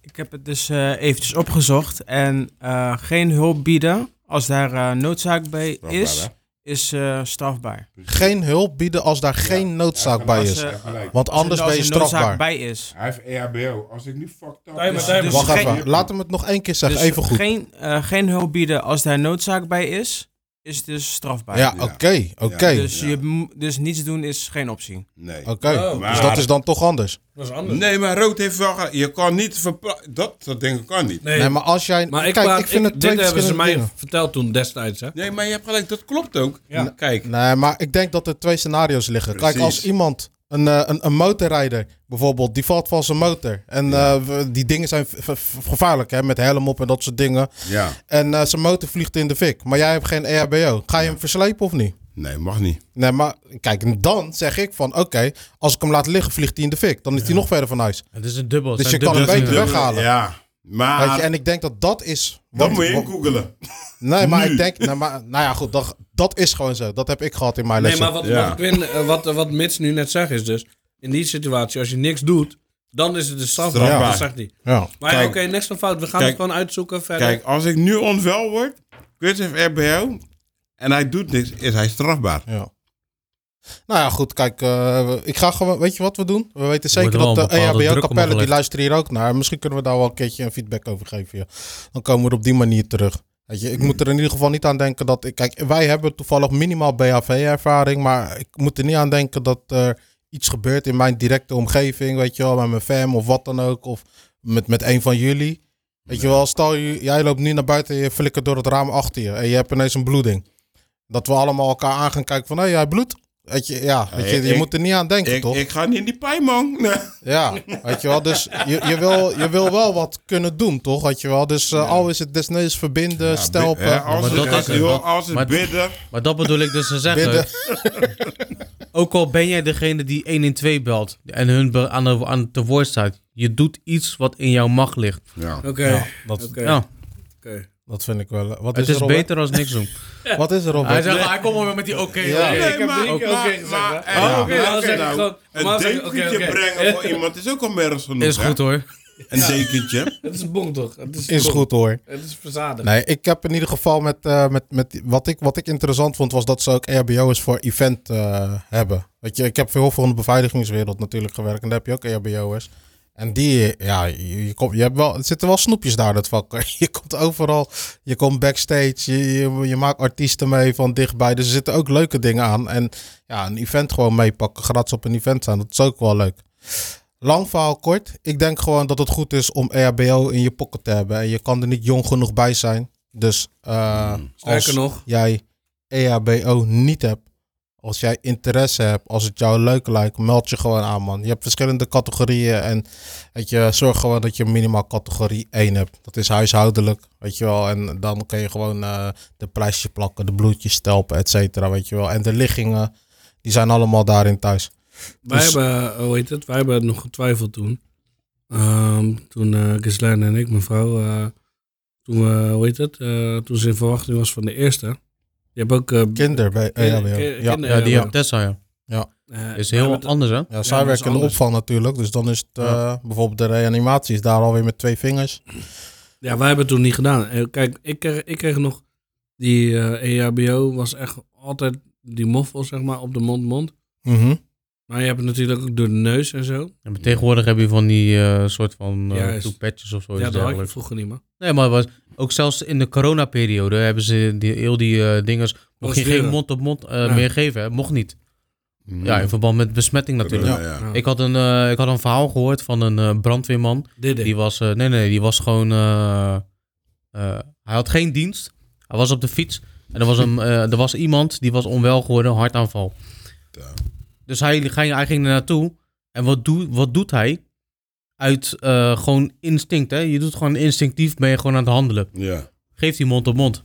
Speaker 7: Ik heb het dus eh, eventjes opgezocht. En eh, geen hulp bieden als daar eh, noodzaak bij
Speaker 6: Strafbaar,
Speaker 7: is,
Speaker 6: hè?
Speaker 7: is eh, strafbaar.
Speaker 3: Geen hulp bieden als daar geen noodzaak bij
Speaker 7: Als,
Speaker 3: is.
Speaker 7: eh,
Speaker 3: Want anders
Speaker 7: als
Speaker 3: ben je
Speaker 7: er noodzaak
Speaker 3: strafbaar.
Speaker 7: bij is.
Speaker 6: Hij heeft E EHBO. Als ik nu fucked up...
Speaker 4: Timer, timer.
Speaker 7: Dus
Speaker 3: Wacht
Speaker 7: geen-
Speaker 3: even, laat hem het nog één keer zeggen,
Speaker 7: Dus
Speaker 3: even goed.
Speaker 7: Geen, eh, geen hulp bieden als daar noodzaak bij is, is dus strafbaar.
Speaker 3: Ja,
Speaker 6: Ja.
Speaker 3: oké, oké,
Speaker 7: Dus, je, m- dus niets doen is geen optie.
Speaker 6: Nee.
Speaker 3: oké.
Speaker 4: Oh.
Speaker 3: Dus dat is dan toch anders.
Speaker 4: Dat is anders.
Speaker 6: Nee, maar rood heeft wel... ge- Je kan niet verplaatsen. Dat soort dingen kan niet.
Speaker 4: Nee,
Speaker 3: Nee, maar als jij...
Speaker 4: maar ik,
Speaker 3: Kijk,
Speaker 4: praat-
Speaker 3: ik vind
Speaker 4: ik-
Speaker 3: het twee
Speaker 4: dit hebben ze
Speaker 3: verschillende
Speaker 4: mij
Speaker 3: dingen.
Speaker 4: verteld toen destijds. Hè?
Speaker 6: Nee, maar je hebt gelijk. Dat klopt ook.
Speaker 4: Ja.
Speaker 6: Kijk.
Speaker 3: Nee, maar ik denk dat er twee scenario's liggen. Kijk,
Speaker 6: Precies.
Speaker 3: als iemand Een, eh, een, een motorrijder bijvoorbeeld, die valt van zijn motor. En eh, we- die dingen zijn v- v- gevaarlijk, hè, met helm op en dat soort dingen.
Speaker 6: Ja,
Speaker 3: En eh, zijn motor vliegt in de fik. Maar jij hebt geen E EHBO. Ga je hem verslepen of niet?
Speaker 6: nee, mag niet.
Speaker 3: Nee, maar kijk, en dan zeg ik van oké, als ik hem laat liggen, vliegt hij in de fik. Dan is hij nog verder van huis.
Speaker 5: Het is een dubbel.
Speaker 3: Dus je kan hem
Speaker 5: een
Speaker 3: beter weghalen.
Speaker 6: Ja,
Speaker 3: Weet
Speaker 4: Ah,
Speaker 6: maar
Speaker 3: je, en ik denk dat dat is.
Speaker 6: dat
Speaker 3: wat-
Speaker 6: moet je
Speaker 3: wat-
Speaker 6: googelen.
Speaker 3: Nee, maar
Speaker 6: Nu.
Speaker 3: ik denk. Nou, maar, nou ja, goed, dat, dat is gewoon zo. Dat heb ik gehad in mijn
Speaker 4: Nee,
Speaker 3: lessen.
Speaker 4: maar wat,
Speaker 6: Ja.
Speaker 4: wat, Quinn, eh, wat, eh, wat Mits nu net zegt is dus... In die situatie, als je niks doet, dan is het dus strafbaar.
Speaker 6: Strafbaar.
Speaker 4: Dat zegt hij.
Speaker 3: Ja.
Speaker 4: Maar oké,
Speaker 6: Kijk.
Speaker 4: niks van fout. We gaan
Speaker 6: Kijk.
Speaker 4: het gewoon uitzoeken verder.
Speaker 6: Kijk, als ik nu onwel word, E cursive RBO, en hij doet niks, is hij strafbaar.
Speaker 3: ja. Nou ja, goed, kijk, eh, ik ga gewoon. Weet je wat we doen? We weten zeker
Speaker 5: wel
Speaker 3: dat
Speaker 5: een
Speaker 3: de E
Speaker 5: bepaalde druk
Speaker 3: EHBO
Speaker 5: op
Speaker 3: Capelle, die
Speaker 5: gelegd.
Speaker 3: luisteren hier ook naar. Misschien kunnen we daar wel een keertje een feedback over geven. ja. Dan komen we er op die manier terug. Weet je, ik moet er in ieder geval niet aan denken dat ik. Kijk, wij hebben toevallig minimaal BHV-ervaring, maar ik moet er niet aan denken dat er iets gebeurt in mijn directe omgeving. Weet je wel, met mijn fam of wat dan ook. Of met, met een van jullie. Weet je wel, stel je, jij loopt nu naar buiten en je flikkert door het raam achter je. En je hebt ineens een bloeding. Dat we allemaal elkaar aan gaan kijken van, hé, jij bloedt. Weet je, ja, weet je,
Speaker 6: ik-
Speaker 3: je
Speaker 6: ik-
Speaker 3: moet er niet aan denken,
Speaker 6: Ik,
Speaker 3: toch?
Speaker 6: ik ga niet in die pijn, man. Nee.
Speaker 3: Ja, weet je wel. Dus je, je, wil, je wil wel wat kunnen doen, toch? Weet je wel. Dus eh, al is het desnoods verbinden,
Speaker 6: Ja,
Speaker 3: stelpen.
Speaker 6: bi- hè, als
Speaker 5: Maar
Speaker 6: het,
Speaker 5: dat is het.
Speaker 6: joh, als
Speaker 5: Maar-
Speaker 6: het bidden.
Speaker 5: Maar dat bedoel ik dus te zeggen.
Speaker 3: Bidden.
Speaker 5: Ook al ben jij degene die 1 in 2 belt en hun be- aan, de, aan te woord staat. Je doet iets wat in jouw macht ligt.
Speaker 6: Ja.
Speaker 4: Oké,
Speaker 3: Ja, dat,
Speaker 4: oké,
Speaker 5: Ja,
Speaker 4: oké.
Speaker 3: dat vind ik wel. eh, Wat
Speaker 5: het
Speaker 3: is,
Speaker 5: is
Speaker 3: er, Robert?
Speaker 5: beter als niks doen.
Speaker 3: Wat is er, Robert?
Speaker 5: Hij zegt, hij komt maar weer met die oké.
Speaker 3: Ja.
Speaker 5: oké.
Speaker 4: ik heb drie keer oké gezegd, hè?
Speaker 6: maar,
Speaker 4: Oh,
Speaker 6: eh,
Speaker 4: oké, dan
Speaker 6: nou,
Speaker 4: zeg ik
Speaker 6: nou,
Speaker 4: gewoon-
Speaker 6: Een
Speaker 4: maar zeg ik, oké,
Speaker 6: dekentje
Speaker 4: oké.
Speaker 6: brengen voor iemand is ook al merg genoeg.
Speaker 5: Is
Speaker 6: hè?
Speaker 5: goed hoor.
Speaker 6: Een dekentje.
Speaker 4: Het is een bonk toch? Het is,
Speaker 3: Is
Speaker 4: bonk.
Speaker 3: goed hoor.
Speaker 4: Het is verzadigd.
Speaker 3: Nee, ik heb in ieder geval met, eh, met, met wat, ik, wat ik interessant vond, was dat ze ook E EHBO's voor event eh, hebben. Weet je, ik heb veel voor de beveiligingswereld natuurlijk gewerkt en daar heb je ook EHBO'ers. En die, ja, je, je, komt, je hebt wel, er zitten wel snoepjes daar in het vak. hoor. Je komt overal, je komt backstage, je, je, je maakt artiesten mee van dichtbij. Dus er zitten ook leuke dingen aan. En ja, een event gewoon meepakken, gratis op een event zijn, dat is ook wel leuk. Lang verhaal kort. Ik denk gewoon dat het goed is om EHBO in je pocket te hebben. En je kan er niet jong genoeg bij zijn. Dus eh
Speaker 4: Hmm. Sterker
Speaker 3: als
Speaker 4: nog,
Speaker 3: jij EHBO niet hebt, als jij interesse hebt, als het jou leuk lijkt, meld je gewoon aan, man. Je hebt verschillende categorieën en weet je, zorg gewoon dat je minimaal categorie 1 hebt. Dat is huishoudelijk, weet je wel. En dan kun je gewoon eh, de prijsje plakken, de bloedjes stelpen, et cetera, weet je wel. En de liggingen, die zijn allemaal daarin thuis.
Speaker 4: wij
Speaker 3: dus-
Speaker 4: hebben, eh, hoe heet het, wij hebben nog getwijfeld toen. Ehm, toen eh Ghislaine en ik, mijn vrouw, eh, toen, we, hoe heet het, eh, toen ze in verwachting was van de eerste. Je hebt ook... eh,
Speaker 3: Kinder bij EHBO.
Speaker 4: kin-
Speaker 3: ja.
Speaker 4: kinder-
Speaker 5: Ja, die
Speaker 4: eh,
Speaker 5: op Tessa, ja.
Speaker 4: eh,
Speaker 5: Is
Speaker 4: wij
Speaker 5: heel
Speaker 4: hebben-
Speaker 5: anders, hè?
Speaker 3: Ja,
Speaker 4: Ja,
Speaker 3: zij
Speaker 4: dat is
Speaker 3: werken in de
Speaker 4: anders.
Speaker 3: opvang natuurlijk. Dus dan is het eh, bijvoorbeeld de reanimatie is daar alweer met twee vingers.
Speaker 4: Ja, wij hebben het toen niet gedaan. En Kijk, ik kreeg, ik kreeg nog... Die eh, EHBO was echt altijd die moffel, zeg maar, op de mond-mond.
Speaker 5: Mhm.
Speaker 4: Maar je hebt het natuurlijk ook door de neus en zo.
Speaker 5: Ja, maar tegenwoordig heb je van die eh, soort van eh
Speaker 4: Juist.
Speaker 5: toepetjes of zo.
Speaker 4: ja, dat
Speaker 5: iets
Speaker 4: had ik
Speaker 5: dergelijks.
Speaker 4: vroeger niet, man.
Speaker 5: Nee, maar het was, ook zelfs in de coronaperiode hebben ze die, heel die eh, dingers... Mocht je geen
Speaker 4: Controleren.
Speaker 5: mond-op-mond eh,
Speaker 4: Ja.
Speaker 5: meer geven, hè? mocht niet. Ja, in
Speaker 6: Mm.
Speaker 5: verband met besmetting natuurlijk.
Speaker 6: Ja, ja.
Speaker 4: Ja.
Speaker 5: Ik, had een, eh, ik had een verhaal gehoord van een eh, brandweerman.
Speaker 4: Dit
Speaker 5: Die was, eh, nee, nee, die was gewoon. eh, eh, hij had geen dienst. Hij was op de fiets. En er was, een, eh, er was iemand die was onwel geworden, hartaanval.
Speaker 6: Ja.
Speaker 5: Dus hij, ging- hij ging er naartoe. En wat, doe, wat doet hij? Uit eh, gewoon instinct, hè? Je doet gewoon instinctief, ben je gewoon aan het handelen.
Speaker 6: Ja.
Speaker 5: Geeft hij mond op mond.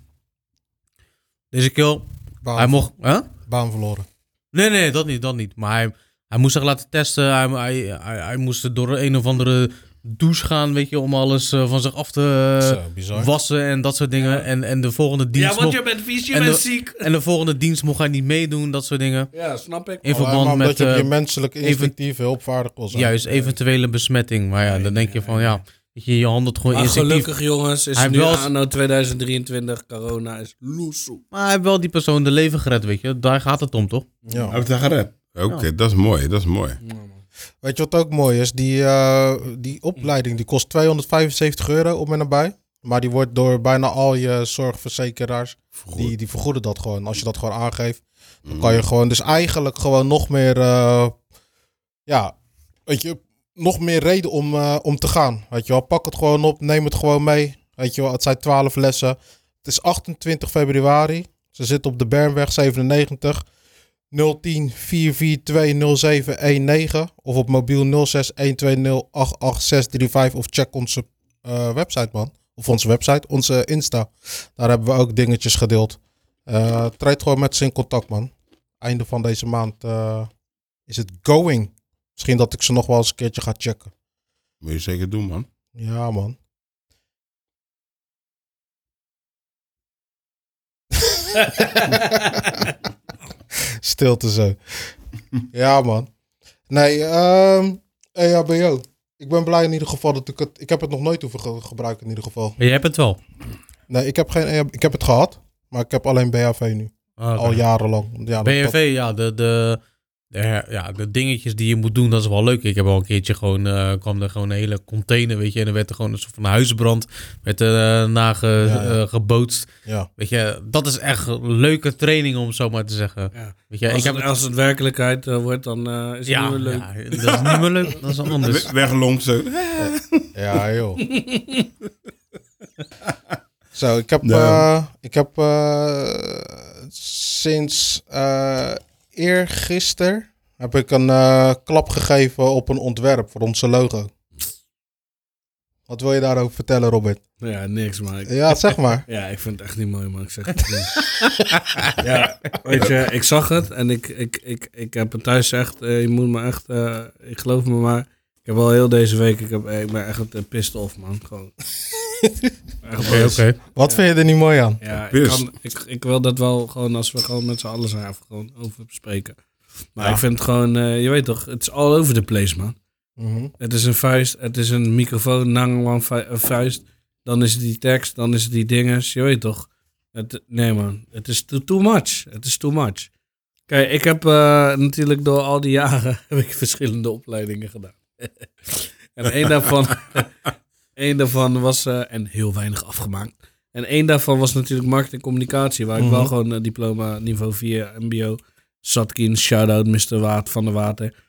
Speaker 5: Deze kill,
Speaker 3: Baan,
Speaker 5: hij mocht. Hè?
Speaker 3: baan verloren.
Speaker 5: Nee, nee, dat niet, dat niet. Maar hij, hij moest zich laten testen. Hij, hij, hij, hij moest door een of andere douche gaan, weet je, om alles eh, van zich af te eh,
Speaker 3: Zo, bizar.
Speaker 5: wassen en dat soort dingen. En, en de volgende dienst
Speaker 4: Ja, want
Speaker 5: mocht,
Speaker 4: je bent vies, je
Speaker 5: en
Speaker 4: bent
Speaker 5: de-
Speaker 4: ziek.
Speaker 5: en de volgende dienst mocht hij niet meedoen, dat soort dingen.
Speaker 4: Ja, snap ik.
Speaker 5: In
Speaker 3: Alleen Oh, maar
Speaker 5: verband
Speaker 3: omdat
Speaker 5: met
Speaker 3: je op je
Speaker 5: eh,
Speaker 3: menselijke
Speaker 5: even-
Speaker 3: instinctief hulpvaardig wil zijn.
Speaker 5: juist eventuele besmetting. Maar ja, dan denk je van ja, weet je, je handelt gewoon
Speaker 4: Maar
Speaker 5: instinctief.
Speaker 4: gelukkig, jongens, is
Speaker 5: Hij
Speaker 4: nu
Speaker 5: heeft wel-
Speaker 4: anno 2023. Corona is loesoe.
Speaker 5: Maar hij heeft wel die persoon de leven gered, weet je. Daar gaat het om, toch?
Speaker 3: Ja.
Speaker 6: Heb je dat gered? Oké, dat is mooi, dat is mooi.
Speaker 3: Weet je wat ook mooi is? Die, eh, die opleiding die kost 275 euro op en nabij. Maar die wordt door bijna al je zorgverzekeraars, die, die vergoeden dat gewoon. Als je dat gewoon aangeeft, dan kan je gewoon dus eigenlijk gewoon nog meer, eh, ja, weet je, nog meer reden om, eh, om te gaan. Weet je wel, pak het gewoon op, neem het gewoon mee. Weet je wel, het zijn 12 lessen. Het is 28 februari. Ze zitten op de Bernweg 97. 010 442 of op mobiel 0612088635 of check onze eh, website man. Of onze website, onze Insta. Daar hebben we ook dingetjes gedeeld. Eh Treed gewoon met ze in contact man. Einde van deze maand eh, is het going. Misschien dat ik ze nog wel eens een keertje ga checken.
Speaker 6: Moet je zeker doen, man.
Speaker 3: Ja man. Stilte zo. Ja, man. Nee, ehm EHBO. Ik ben blij in ieder geval dat ik het... Ik heb het nog nooit hoeven ge- gebruiken in ieder geval.
Speaker 5: Maar jij hebt het wel.
Speaker 3: Nee, ik heb, geen EHB ik heb het gehad. Maar ik heb alleen BHV nu.
Speaker 5: Ah,
Speaker 3: Al
Speaker 5: oké.
Speaker 3: jarenlang. Ja, dat-
Speaker 4: Ah,
Speaker 3: dat-
Speaker 5: BNV, ja, de, de, de, her- ja, de dingetjes die je moet doen, dat is wel leuk. Ik heb al een keertje gewoon, eh, kwam er gewoon een hele container, weet je. En er werd er gewoon een soort van huisbrand werd er, eh, nage,
Speaker 3: Ja, ja.
Speaker 5: eh, gebootst.
Speaker 3: ja.
Speaker 5: Weet je, dat is echt een leuke training, om het zo maar te zeggen.
Speaker 4: Ja.
Speaker 5: Weet je,
Speaker 4: als,
Speaker 5: ik heb
Speaker 4: het,
Speaker 5: het-
Speaker 4: als het werkelijkheid eh, wordt, dan eh, is het
Speaker 5: ja,
Speaker 4: niet meer leuk.
Speaker 5: ja, dat is niet meer leuk. Dat is anders.
Speaker 6: We- Weglonkt zo.
Speaker 3: Ja, joh. Zo, ik heb,
Speaker 6: Nee.
Speaker 3: eh, ik heb eh, sinds eh eergisteren heb ik een eh, klap gegeven op een ontwerp voor onze logo. Wat wil je daarover vertellen, Robert?
Speaker 4: Nou Ja, niks, maar ik-
Speaker 3: Ja, zeg maar.
Speaker 4: Ja, ik vind het echt niet mooi, man. Ik zeg het niet. ja, weet je, ik zag het en ik, ik, ik, ik heb het thuis echt... eh, je moet me echt... eh, ik geloof me maar. Ik heb al heel deze week... Ik, heb, eh, ik ben echt eh, pissed off, man. Gewoon. Echt
Speaker 5: Oké,
Speaker 4: boos.
Speaker 5: oké.
Speaker 3: Wat vind je er niet mooi aan?
Speaker 4: Ja, ik,
Speaker 6: Pissed.
Speaker 4: kan, ik, ik wil dat wel gewoon als we gewoon met z'n allen zijn even gewoon over bespreken. Maar
Speaker 6: Ja.
Speaker 4: ik vind het gewoon... eh, je weet toch, het is all over the place, man.
Speaker 3: Mhm.
Speaker 4: Het is een vuist, het is een microfoon, Nangwan vuist. Dan is het die tekst, dan is het die dinges. Je weet toch? Het, nee man, het is too, too much. Het is too much. Kijk, ik heb eh, natuurlijk door al die jaren heb ik verschillende opleidingen gedaan. en één daarvan, één daarvan was, eh, en heel weinig afgemaakt. En één daarvan was natuurlijk marketing en communicatie, waar ik wel
Speaker 3: Mhm.
Speaker 4: gewoon eh, diploma niveau 4 MBO, Satkin, shout-out Mr. Waard van de Water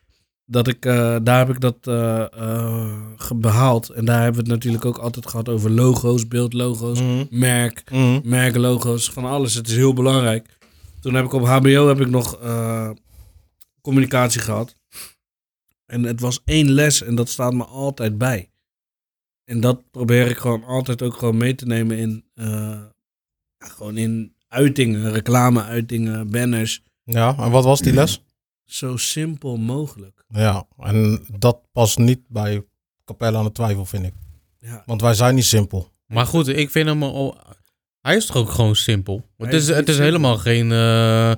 Speaker 4: dat ik, eh, daar heb ik dat eh, eh, ge- behaald. En daar hebben we het natuurlijk ook altijd gehad over logo's, beeldlogo's,
Speaker 3: Mhm.
Speaker 4: merk,
Speaker 3: Mhm.
Speaker 4: merklogo's, van alles. Het is heel belangrijk. Toen heb ik op HBO heb ik nog eh, communicatie gehad. En het was één les en dat staat me altijd bij. En dat probeer ik gewoon altijd ook gewoon mee te nemen in, eh, ja, gewoon in uitingen, reclame-uitingen, banners.
Speaker 3: Ja, en wat was die les?
Speaker 4: Zo simpel mogelijk.
Speaker 3: Ja, en dat past niet bij Capelle aan de Twijfel, vind ik.
Speaker 4: Ja.
Speaker 3: Want wij zijn niet simpel.
Speaker 5: Maar goed, ik vind hem al... Hij is toch ook gewoon simpel?
Speaker 4: Hij
Speaker 5: Het is,
Speaker 4: is
Speaker 5: het is
Speaker 4: simpel.
Speaker 5: helemaal geen... eh,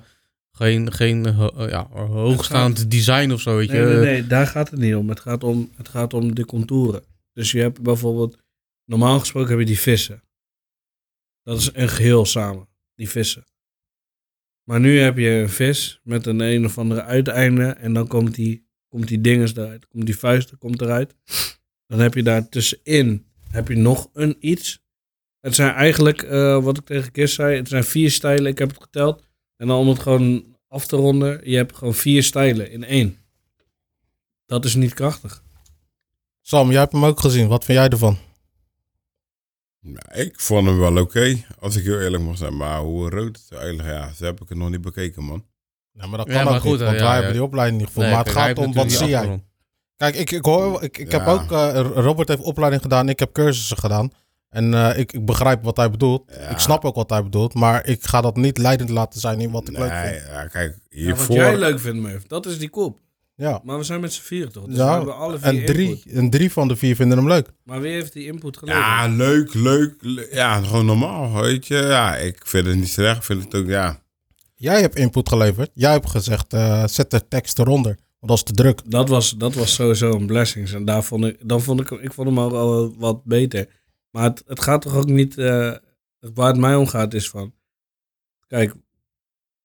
Speaker 5: geen, geen ho- eh, ja, hoogstaand design of zo, weet je.
Speaker 4: Nee, nee, nee, daar gaat het niet om. Het gaat om, het gaat om de contouren. Dus je hebt bijvoorbeeld, normaal gesproken heb je die vissen. Dat is een geheel samen, die vissen. Maar nu heb je een vis met een een of andere uiteinde en dan komt die, komt die dinges eruit. Komt die vuist komt eruit. Dan heb je daar tussenin heb je nog een iets. Het zijn eigenlijk, eh, wat ik tegen Chris zei, het zijn vier stijlen. Ik heb het geteld. En dan om het gewoon af te ronden, je hebt gewoon vier stijlen in één. Dat is niet krachtig.
Speaker 3: Sam, jij hebt hem ook gezien. Wat vind jij ervan?
Speaker 6: Nou, ik vond hem wel oké, als ik heel eerlijk mag zijn. Maar hoe rood het eigenlijk, ja, zo heb ik het nog niet bekeken, man.
Speaker 3: Ja, maar dat
Speaker 5: Ja,
Speaker 3: kan
Speaker 5: maar
Speaker 3: ook
Speaker 5: goed,
Speaker 3: niet,
Speaker 5: hè,
Speaker 3: want
Speaker 5: ja,
Speaker 3: wij
Speaker 5: ja.
Speaker 3: hebben die opleiding niet gevoeld. maar het
Speaker 5: kijk, hij
Speaker 3: gaat
Speaker 5: heeft
Speaker 3: om, wat
Speaker 5: natuurlijk
Speaker 3: zie
Speaker 5: die
Speaker 3: jij?
Speaker 5: achtergrond.
Speaker 3: Kijk, ik, ik hoor, ik, ik heb
Speaker 6: Ja.
Speaker 3: ook, eh, Robert heeft opleiding gedaan, ik heb cursussen gedaan. En eh, ik, ik begrijp wat hij bedoelt.
Speaker 6: Ja.
Speaker 3: Ik snap ook wat hij bedoelt, maar ik ga dat niet leidend laten zijn in wat ik leuk
Speaker 6: Nee,
Speaker 3: vind.
Speaker 6: ja, kijk,
Speaker 4: wat
Speaker 6: hiervoor...
Speaker 4: jij leuk vindt, Murph, dat is die kop.
Speaker 3: Ja,
Speaker 4: Maar we zijn met z'n vier toch? Dus
Speaker 3: Ja,
Speaker 4: we hebben alle vier
Speaker 3: en drie,
Speaker 4: input.
Speaker 3: en drie van de vier vinden hem leuk.
Speaker 4: Maar wie heeft die input geleverd?
Speaker 6: ja, leuk, leuk, le- Ja, gewoon normaal, weet je. Ja, ik vind het niet slecht. Ik vind het ook, ja...
Speaker 3: Jij hebt input geleverd. Jij hebt gezegd, eh, zet de tekst eronder, want dat is te druk.
Speaker 4: Dat, was, dat was sowieso een blessing. En daar vond ik, dan vond ik, hem- ik vond hem ook al wat beter. Maar het, het gaat toch ook niet... eh, waar het mij om gaat is van... Kijk,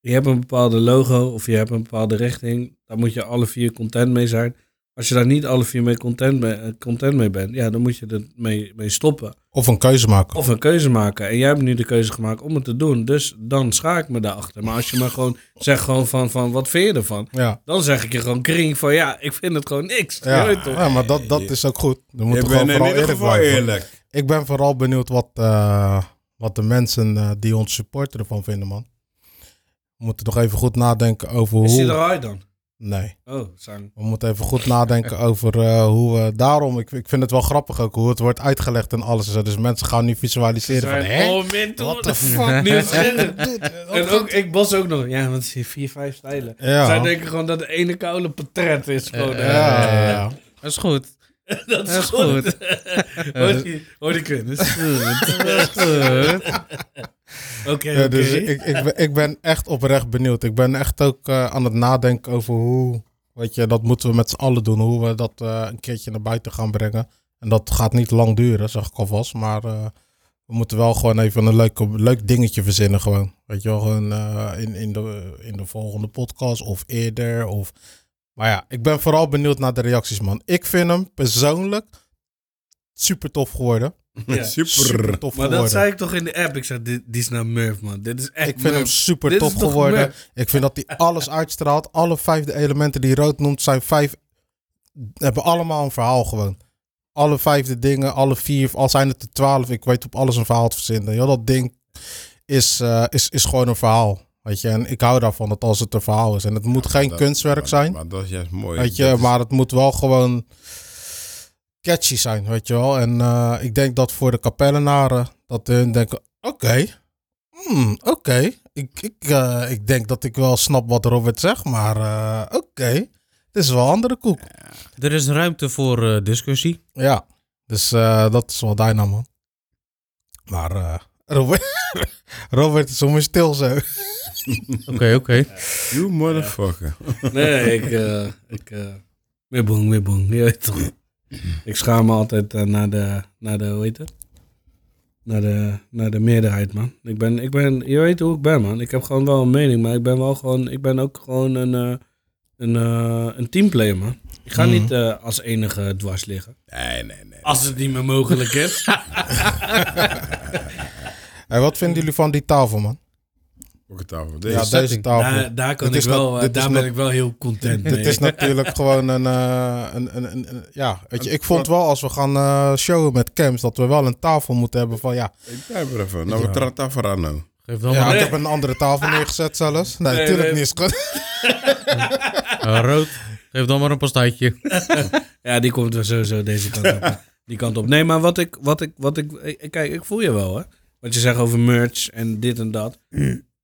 Speaker 4: je hebt een bepaalde logo of je hebt een bepaalde richting. Daar moet je alle vier content mee zijn. Als je daar niet alle vier mee content, mee- eh, content mee bent, ja, dan moet je er mee, mee stoppen.
Speaker 3: Of een keuze maken.
Speaker 4: Of een keuze maken. En jij hebt nu de keuze gemaakt om het te doen. Dus dan schaak ik me daarachter. Maar als je me gewoon zegt gewoon van, van wat vind je ervan?
Speaker 3: Ja,
Speaker 4: Dan zeg ik je gewoon kring van ja, ik vind het gewoon niks. Je
Speaker 3: ja.
Speaker 4: weet toch?
Speaker 3: ja maar dat, dat is ook goed. We
Speaker 6: Je
Speaker 3: moeten gewoon
Speaker 6: bent in
Speaker 3: vooral
Speaker 6: ieder
Speaker 3: eerlijk
Speaker 6: geval
Speaker 3: blijven.
Speaker 6: eerlijk.
Speaker 3: Ik ben vooral benieuwd wat, eh, wat de mensen eh, die ons supporteren ervan vinden, man. We moeten nog even goed nadenken over hoe...
Speaker 4: Is die eruit dan?
Speaker 3: Nee.
Speaker 4: Oh, zijn.
Speaker 3: We moeten even goed nadenken over eh, hoe we daarom. Ik, ik vind het wel grappig ook hoe het wordt uitgelegd en alles. en zo. Dus mensen gaan nu visualiseren van
Speaker 4: zijn
Speaker 3: hè?
Speaker 4: oh, mentor.
Speaker 3: What the fuck?
Speaker 4: Nu is het- En
Speaker 3: en
Speaker 4: ook, ik bos ook nog. Ja, want het is vier, vijf stijlen.
Speaker 3: Ja.
Speaker 4: Zij denken gewoon dat de ene koude portret is. Gewoon,
Speaker 5: Eh,
Speaker 4: hè.
Speaker 3: Ja, ja, ja.
Speaker 5: Dat is goed.
Speaker 4: dat is
Speaker 5: Dat is
Speaker 4: goed.
Speaker 5: goed.
Speaker 4: Hoor die- Hoor die kunnen. Oké,
Speaker 3: Ja,
Speaker 4: oké.
Speaker 3: dus ik, ik, ben- ik ben echt oprecht benieuwd. Ik ben echt ook eh, aan het nadenken over hoe. Weet je, dat moeten we met z'n allen doen. Hoe we dat eh, een keertje naar buiten gaan brengen. En dat gaat niet lang duren, zeg ik alvast. Maar eh, we moeten wel gewoon even een leuk, leuk dingetje verzinnen. Gewoon. Weet je wel, gewoon eh, in, in, de, in de volgende podcast of eerder. Of... Maar ja, ik ben vooral benieuwd naar de reacties, man. Ik vind hem persoonlijk super tof geworden.
Speaker 4: Ja.
Speaker 6: Super.
Speaker 3: Super tof
Speaker 4: Maar
Speaker 3: geworden.
Speaker 4: dat zei ik toch in de app. Ik zei, dit, die is naar Murph, man. Dit is echt
Speaker 3: Ik vind hem
Speaker 4: Murph.
Speaker 3: super
Speaker 4: Dit is
Speaker 3: tof
Speaker 4: toch
Speaker 3: geworden.
Speaker 4: Murph?
Speaker 3: Ik vind dat hij alles uitstraalt. Alle vijfde elementen die Rood noemt zijn vijf. hebben allemaal een verhaal gewoon. Alle vijfde dingen, alle vier, al zijn het er twaalf. Ik weet op alles een verhaal te verzinnen. Ja, dat ding is, eh, is, is gewoon een verhaal. Weet je, en ik hou daarvan dat als het een verhaal is. En het moet geen
Speaker 6: Dat-
Speaker 3: kunstwerk
Speaker 6: maar-
Speaker 3: zijn.
Speaker 6: Maar dat is juist mooi.
Speaker 3: Weet je,
Speaker 6: Dat is-
Speaker 3: maar het moet wel gewoon catchy zijn, weet je wel. En eh, ik denk dat voor de kapellenaren, dat hun denken, oké, hmm, oké. Ik, ik, eh, ik denk dat ik wel snap wat Robert zegt, maar eh, oké. Het is wel een andere koek.
Speaker 5: Er is ruimte voor eh, discussie.
Speaker 3: Ja, dus eh, dat is wel daarna, man. Maar eh, Robert, Robert is om stil zo.
Speaker 5: Oké, oké.
Speaker 6: You motherfucker.
Speaker 4: Nee, ik... eh ik eh wibbong, wibbong. Je weet toch. Ik schaam me altijd eh, naar de... Naar de, hoe heet het? Naar de, naar de meerderheid, man. Ik ben, ik ben... Je weet hoe ik ben, man. Ik heb gewoon wel een mening, maar ik ben wel gewoon... Ik ben ook gewoon een... eh, een, eh, een teamplayer, man. Ik ga niet eh, als enige dwars liggen.
Speaker 6: Nee, nee, nee.
Speaker 4: Als het niet meer mogelijk is.
Speaker 3: En wat vinden jullie van die tafel, man?
Speaker 6: Pak het af.
Speaker 3: Ja,
Speaker 6: Deze.
Speaker 3: deze tafel.
Speaker 4: daar, daar kan
Speaker 3: Dit
Speaker 4: ik
Speaker 3: is nat-
Speaker 4: wel... eh,
Speaker 3: dit is
Speaker 4: daar ben
Speaker 3: nat-
Speaker 4: ik wel heel content mee.
Speaker 3: Dit is natuurlijk gewoon een, eh, een, een, een, een- Ja, weet je, ik vond wel als we gaan eh, showen met camps dat we wel een tafel moeten hebben van ja.
Speaker 6: Ik blijf er even. Nou, we Tartafarano.
Speaker 5: Geef dan
Speaker 3: ja
Speaker 5: maar
Speaker 3: ik heb een andere tafel neergezet zelfs. Nee,
Speaker 4: Nee,
Speaker 3: natuurlijk
Speaker 4: nee.
Speaker 3: niet. is goed.
Speaker 5: Eh, rood. Geef dan maar een pastaatje.
Speaker 4: Ja, die komt er sowieso deze kant op. die kant op. Nee, maar wat ik, wat ik, wat ik, ik- kijk, ik voel je wel, hè? Wat je zegt over merch en dit en dat.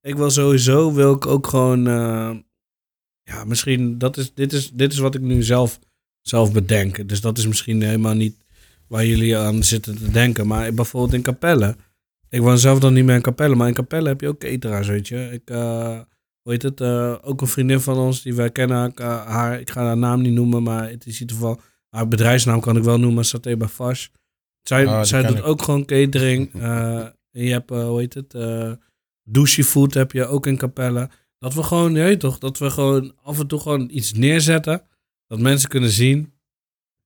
Speaker 4: Ik wil sowieso, wil ik ook gewoon, eh, ja, misschien dat is, dit is, dit is wat ik nu zelf, zelf bedenk. Dus dat is misschien helemaal niet waar jullie aan zitten te denken. Maar bijvoorbeeld in Capelle. Ik woon zelf dan niet meer in Capelle, maar in Capelle heb je ook cateraars, weet je. Ik, eh, hoe heet het, eh, ook een vriendin van ons die wij kennen, ik, eh, haar, ik ga haar naam niet noemen, maar het is in ieder geval haar bedrijfsnaam kan ik wel noemen, Saté Bafash. Zij,
Speaker 3: Ah, die
Speaker 4: zij
Speaker 3: ken
Speaker 4: doet
Speaker 3: ik.
Speaker 4: ook gewoon catering. Eh, en je hebt, eh, hoe heet het, eh douche food heb je ook in Capelle. Dat we gewoon, je weet toch, dat we gewoon af en toe gewoon iets neerzetten. Dat mensen kunnen zien.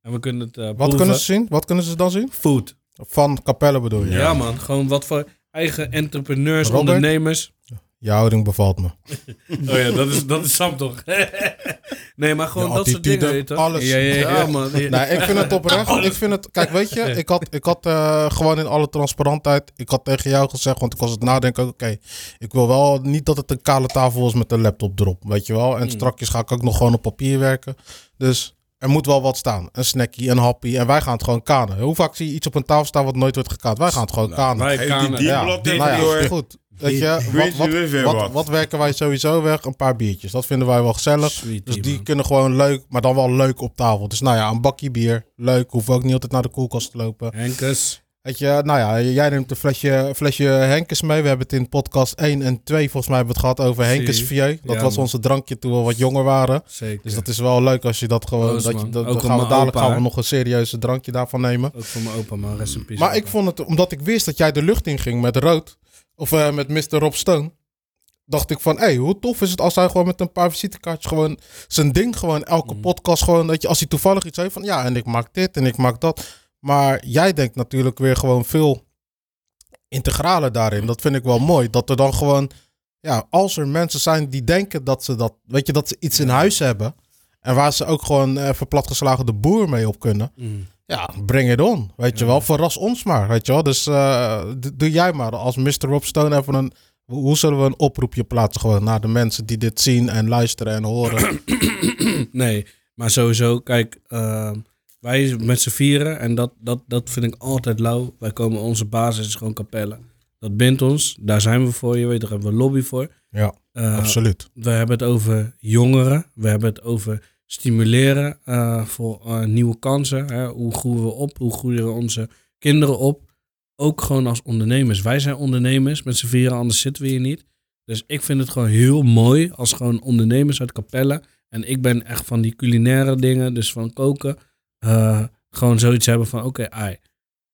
Speaker 4: En we kunnen het eh,
Speaker 3: Wat
Speaker 4: proeven.
Speaker 3: kunnen ze zien? Wat kunnen ze dan zien?
Speaker 4: Food.
Speaker 3: Van Capelle bedoel je?
Speaker 4: Ja, man, gewoon wat voor eigen entrepreneurs,
Speaker 3: Robert?
Speaker 4: ondernemers.
Speaker 3: Je houding bevalt me.
Speaker 4: Oh ja, dat is, dat is Sam toch? nee, maar gewoon
Speaker 3: Je
Speaker 4: dat soort dingen.
Speaker 3: attitude,
Speaker 4: weet je toch?
Speaker 3: alles.
Speaker 5: Ja, ja,
Speaker 4: Ja, man.
Speaker 3: Nee, ik vind het oprecht. Ik vind het, kijk, weet je, ik had, ik had eh, gewoon in alle transparantheid, ik had tegen jou gezegd, want ik was het nadenken, oké, ik wil wel niet dat het een kale tafel is met een laptop erop, weet je wel. En strakjes ga ik ook nog gewoon op papier werken. Dus er moet wel wat staan. Een snackie, een happy. En wij gaan het gewoon kanen. Hoe vaak zie je iets op een tafel staan wat nooit wordt gekaat? Wij gaan het gewoon kanen.
Speaker 4: Wij
Speaker 6: Geef die
Speaker 4: kanen.
Speaker 3: Ja,
Speaker 6: dieblad
Speaker 3: nou ja,
Speaker 6: even door.
Speaker 3: goed. Weet je,
Speaker 6: Weet
Speaker 3: wat,
Speaker 6: je weer
Speaker 3: wat,
Speaker 6: weer
Speaker 3: wat,
Speaker 6: wat.
Speaker 3: wat werken wij sowieso weg? Een paar biertjes. Dat vinden wij wel gezellig.
Speaker 4: Sweet
Speaker 3: Dus
Speaker 4: tea,
Speaker 3: die
Speaker 4: man.
Speaker 3: kunnen gewoon leuk, maar dan wel leuk op tafel. Dus nou ja, een bakje bier. Leuk, hoef ook niet altijd naar de koelkast te lopen.
Speaker 4: Henkes.
Speaker 3: Weet je, nou ja, jij neemt een flesje, flesje Henkes mee. We hebben het in podcast 1 en 2 volgens mij hebben we het gehad over Henkes
Speaker 4: Zie.
Speaker 3: Vieux. Dat
Speaker 4: Ja,
Speaker 3: was
Speaker 4: man.
Speaker 3: onze drankje toen we wat jonger waren.
Speaker 4: Zeker.
Speaker 3: Dus dat is wel leuk als je dat gewoon...
Speaker 4: Proost,
Speaker 3: dat je,
Speaker 4: man.
Speaker 3: dat,
Speaker 4: Ook
Speaker 3: dan
Speaker 4: aan
Speaker 3: gaan we
Speaker 4: mijn
Speaker 3: dadelijk
Speaker 4: opa,
Speaker 3: gaan we
Speaker 4: hè?
Speaker 3: nog een serieuze drankje daarvan nemen.
Speaker 4: Ook voor mijn opa, man. Rest in peace,
Speaker 3: Maar
Speaker 4: opa.
Speaker 3: ik vond het, omdat ik wist dat jij de lucht in ging met Rood, of eh, met Mr. Rob Stone, dacht ik van, hé, hey, hoe tof is het als hij gewoon met een paar visitekaartjes gewoon zijn ding gewoon, elke podcast gewoon, dat je als hij toevallig iets heeft van, ja, en ik maak dit en ik maak dat. Maar jij denkt natuurlijk weer gewoon veel integralen daarin. Dat vind ik wel mooi, dat er dan gewoon, ja, als er mensen zijn die denken dat ze dat, weet je, dat ze iets in huis hebben. En waar ze ook gewoon even platgeslagen de boer mee op kunnen.
Speaker 4: Mm.
Speaker 3: Ja, bring it on. Weet je wel, verras ons maar. Weet je wel, dus eh, d- doe jij maar als Mr. Rob Stone even een Hoe hoe zullen we een oproepje plaatsen gewoon naar de mensen die dit zien en luisteren en horen?
Speaker 4: nee, maar sowieso, kijk, ehm, wij met z'n vieren, en dat, dat, dat vind ik altijd lauw. Wij komen, onze basis is gewoon Capelle. Dat bindt ons, daar zijn we voor, je weet, daar hebben we lobby voor.
Speaker 3: Ja,
Speaker 4: Eh,
Speaker 3: absoluut.
Speaker 4: we hebben het over jongeren. We hebben het over stimuleren eh, voor eh, nieuwe kansen. Hè? Hoe groeien we op? Hoe groeien we onze kinderen op? Ook gewoon als ondernemers. Wij zijn ondernemers. Met z'n vieren, anders zitten we hier niet. Dus ik vind het gewoon heel mooi als gewoon ondernemers uit Capelle. En ik ben echt van die culinaire dingen, dus van koken. eh, gewoon zoiets hebben van, oké, ai.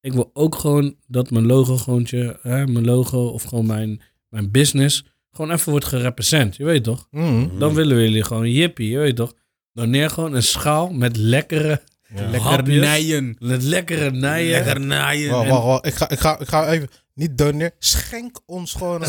Speaker 4: Ik wil ook gewoon dat mijn logo, gewoon, hè, mijn logo of gewoon mijn, mijn business gewoon even wordt gerepresent. Je weet toch?
Speaker 3: Mm.
Speaker 4: Dan willen we jullie gewoon jippie, je weet toch? Doneer gewoon een schaal met lekkere
Speaker 5: Lekker
Speaker 4: hapjes.
Speaker 5: nijen.
Speaker 4: Met lekkere nijen.
Speaker 5: Lekker naaien.
Speaker 3: Wacht, wacht, wacht. Ik ga, ik ga, ik ga even. Niet doneer. Schenk ons gewoon een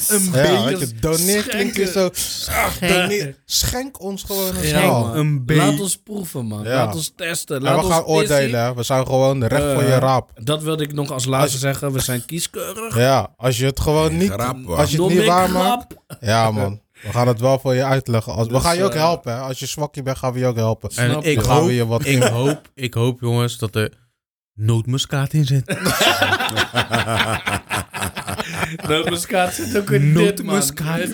Speaker 3: schaal.
Speaker 4: een
Speaker 3: ja,
Speaker 4: beetje-
Speaker 3: weet je, doneer klinkt weer zo. Ah, doneer. Schenk ons gewoon een schaal.
Speaker 4: man.
Speaker 5: een beetje.
Speaker 4: Laat ons proeven, man.
Speaker 3: Ja.
Speaker 4: Laat ons testen.
Speaker 3: En
Speaker 4: Laat
Speaker 3: we gaan
Speaker 4: ons testen.
Speaker 3: oordelen. hè. We zijn gewoon de recht voor
Speaker 4: Eh,
Speaker 3: je raap.
Speaker 4: Dat wilde ik nog als laatste zeggen. We zijn kieskeurig.
Speaker 3: Ja, als je het gewoon niet,
Speaker 6: grap, hoor.
Speaker 3: als je het
Speaker 4: Dom
Speaker 3: niet
Speaker 4: ik
Speaker 3: waar maakt.
Speaker 4: grap.
Speaker 3: Ja, man. We gaan het wel voor je uitleggen. Als, we
Speaker 4: Eh, Dus,
Speaker 3: gaan je ook
Speaker 4: eh,
Speaker 3: helpen. Hè. Als je zwakje bent, gaan we je ook helpen.
Speaker 5: En
Speaker 4: Snap
Speaker 5: ik
Speaker 4: je.
Speaker 3: Dan gaan
Speaker 5: hoop,
Speaker 3: we je wat
Speaker 5: ik, hoop, ik hoop, jongens, dat er nootmuskaat in zit.
Speaker 4: Nootmuskaat zit ook in dit, man.
Speaker 5: Nootmuskaat.
Speaker 4: Je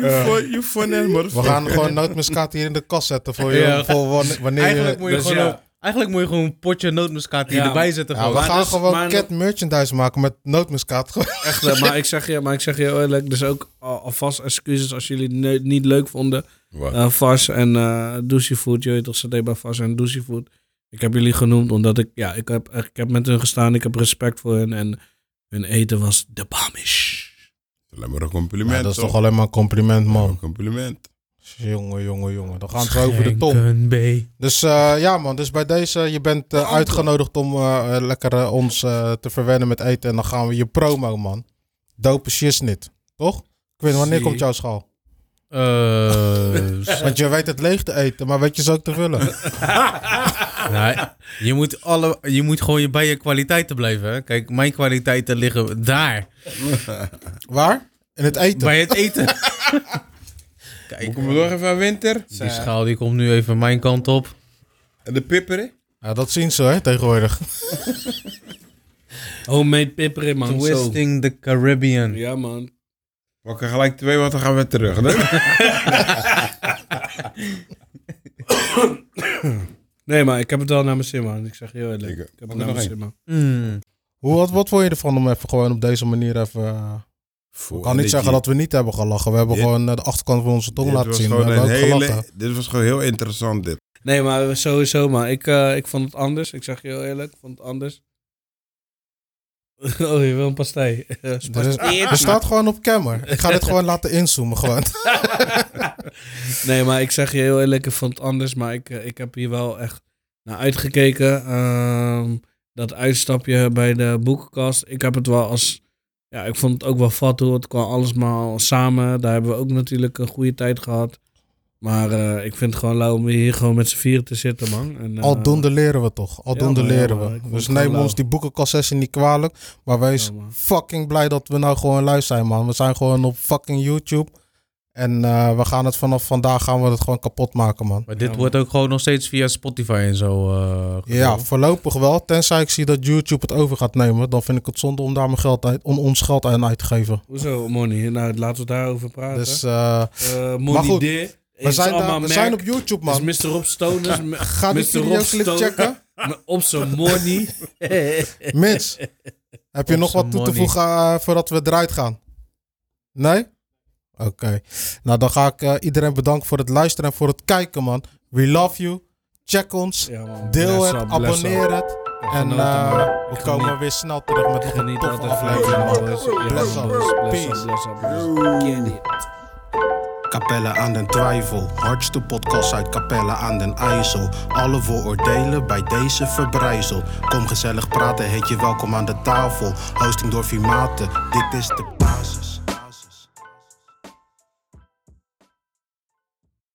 Speaker 4: weet toch?
Speaker 6: You fun animals.
Speaker 3: We gaan gewoon nootmuskaat hier in de kast zetten voor je.
Speaker 5: Ja.
Speaker 3: Voor wan- wanneer
Speaker 5: Eigenlijk
Speaker 3: je...
Speaker 5: moet je,
Speaker 4: Dus
Speaker 5: gewoon,
Speaker 4: ja.
Speaker 5: een- eigenlijk moet je gewoon een potje nootmuskaat hier
Speaker 4: Ja.
Speaker 5: erbij zetten.
Speaker 3: eh, Ja,
Speaker 5: gewoon.
Speaker 3: we gaan
Speaker 4: dus- maar
Speaker 3: gewoon
Speaker 4: nog-
Speaker 3: cat merchandise maken met nootmuskaat.
Speaker 4: Echt, hè, maar ik zeg je, maar ik zeg je heel eerlijk, dus ook al- alvast excuses als jullie ne- niet leuk vonden.
Speaker 6: Wat?
Speaker 4: Eh Vars en eh Douchey Food, je weet toch, Saté bij Vars en Douchey Food. Ik heb jullie genoemd omdat ik, ja, ik heb, ik heb met hun gestaan, ik heb respect voor hun en hun eten was de bamish.
Speaker 6: Alleen maar een compliment.
Speaker 3: Ja, dat is toch alleen maar een compliment,
Speaker 6: Een
Speaker 3: man.
Speaker 6: compliment.
Speaker 3: Jongen, jongen, jongen. Dan gaan we over de
Speaker 5: Henk
Speaker 3: tong.
Speaker 5: en B.
Speaker 3: Dus eh, ja, man. Dus bij deze, je bent eh, uitgenodigd om eh, eh, lekker eh, ons eh, te verwennen met eten. En dan gaan we je promo, man. Dope shit, toch? Quinn, wanneer
Speaker 4: Zie.
Speaker 3: komt jouw schaal?
Speaker 5: Eh, s-
Speaker 3: Want je weet het leeg te eten, maar weet je ze ook te vullen.
Speaker 5: nou, je, moet alle, je moet gewoon je bij je kwaliteiten blijven. Hè. Kijk, mijn kwaliteiten liggen daar.
Speaker 3: Waar? In het eten.
Speaker 5: Bij het eten. Kijk,
Speaker 6: Moet ik hem nog even aan winter?
Speaker 5: die schaal die komt nu even mijn kant op.
Speaker 6: En de pipperen?
Speaker 3: Ja, dat zien ze, hè, tegenwoordig.
Speaker 4: Homemade pipperin, man. Zo.
Speaker 5: Twisting the Caribbean.
Speaker 4: Ja, man.
Speaker 6: Pak er gelijk twee, want dan gaan we terug. Hè?
Speaker 4: Nee, maar ik heb het wel naar mijn zin, man. Ik zeg je heel eerlijk.
Speaker 6: Ik, eh,
Speaker 4: Ik heb
Speaker 6: pak
Speaker 4: het naar
Speaker 6: er nog
Speaker 4: mijn
Speaker 6: één.
Speaker 4: zin, man.
Speaker 5: Mm.
Speaker 3: Hoe, wat, wat vond je ervan om even gewoon op deze manier even... eh, Ik kan niet zeggen dat we niet hebben gelachen. We hebben
Speaker 6: Dit-
Speaker 3: gewoon eh, de achterkant van onze tong
Speaker 6: Dit
Speaker 3: laten
Speaker 6: was
Speaker 3: zien. We
Speaker 6: gewoon
Speaker 3: hebben ook
Speaker 6: een hele-
Speaker 3: gelachen.
Speaker 6: Dit was gewoon heel interessant, dit.
Speaker 4: Nee, maar sowieso, man. Ik, eh, ik vond het anders. Ik zeg je heel eerlijk, ik vond het anders. Oh, je wil een pastei.
Speaker 3: Er, is- er staat gewoon op camera. Ik ga dit gewoon laten inzoomen. Gewoon.
Speaker 4: nee, maar ik zeg je heel eerlijk, ik vond het anders. Maar ik, eh, ik heb hier wel echt naar uitgekeken. Ehm, dat uitstapje bij de boekenkast. Ik heb het wel als... Ja, ik vond het ook wel vat hoe het kwam alles maar samen. Daar hebben we ook natuurlijk een goede tijd gehad. Maar eh, ik vind het gewoon lauw om hier gewoon met z'n vieren te zitten, man. En, eh,
Speaker 3: Aldoende leren we toch. Aldoende
Speaker 4: Ja, maar, ja,
Speaker 3: leren
Speaker 4: maar, ik
Speaker 3: we.
Speaker 4: vond
Speaker 3: Dus
Speaker 4: het
Speaker 3: neem
Speaker 4: gewoon
Speaker 3: ons die boekencassessie niet kwalijk. Maar wees
Speaker 4: Ja, man.
Speaker 3: fucking blij dat we nou gewoon live zijn, man. We zijn gewoon op fucking YouTube. En eh, we gaan het vanaf vandaag gaan we het gewoon kapot maken, man.
Speaker 5: Maar dit
Speaker 4: Ja,
Speaker 5: wordt ook gewoon nog steeds via Spotify en zo. eh,
Speaker 3: Ja,
Speaker 5: gedaan.
Speaker 3: voorlopig wel. Tenzij ik zie dat YouTube het over gaat nemen. Dan vind ik het zonde om daar mijn geld uit, om ons geld aan uit te geven.
Speaker 4: Hoezo, Money? Nou, laten we daarover praten.
Speaker 3: Dus eh,
Speaker 4: Eh,
Speaker 3: Maar goed,
Speaker 4: Money D.
Speaker 3: we, zijn daar, we zijn op YouTube, man.
Speaker 4: Dus Mr. Rob Stone is
Speaker 3: Ga die
Speaker 4: Mr. Rob
Speaker 3: videoclip
Speaker 4: Stone.
Speaker 3: checken.
Speaker 4: op zijn money.
Speaker 3: Mits, heb je
Speaker 5: Op
Speaker 3: nog wat
Speaker 5: z'n
Speaker 3: toe te
Speaker 5: money.
Speaker 3: voegen eh, voordat we eruit gaan? Nee? Oké. Nou, dan ga ik eh, iedereen bedanken voor het luisteren en voor het kijken, man. We love you. Check ons.
Speaker 4: Ja, man.
Speaker 3: Deel
Speaker 4: Bless
Speaker 3: het.
Speaker 4: up, bless up.
Speaker 3: Abonneer het. En
Speaker 4: Genoten,
Speaker 3: eh,
Speaker 4: man. Ik
Speaker 3: we
Speaker 4: geniet-
Speaker 3: komen weer snel terug met nog een
Speaker 4: Geniet
Speaker 3: toffe
Speaker 4: altijd van je
Speaker 3: aflevering, man.
Speaker 4: jongens. Ja,
Speaker 3: Bless up.
Speaker 4: bless up, bless
Speaker 3: Peace.
Speaker 4: up, bless up, bless up.
Speaker 8: Capelle aan den Twijfel, hardste podcast uit Capelle aan den IJssel. Alle vooroordelen bij deze verbrijzel. Kom gezellig praten, heet je welkom aan de tafel. Hosting door Vimate, dit is de...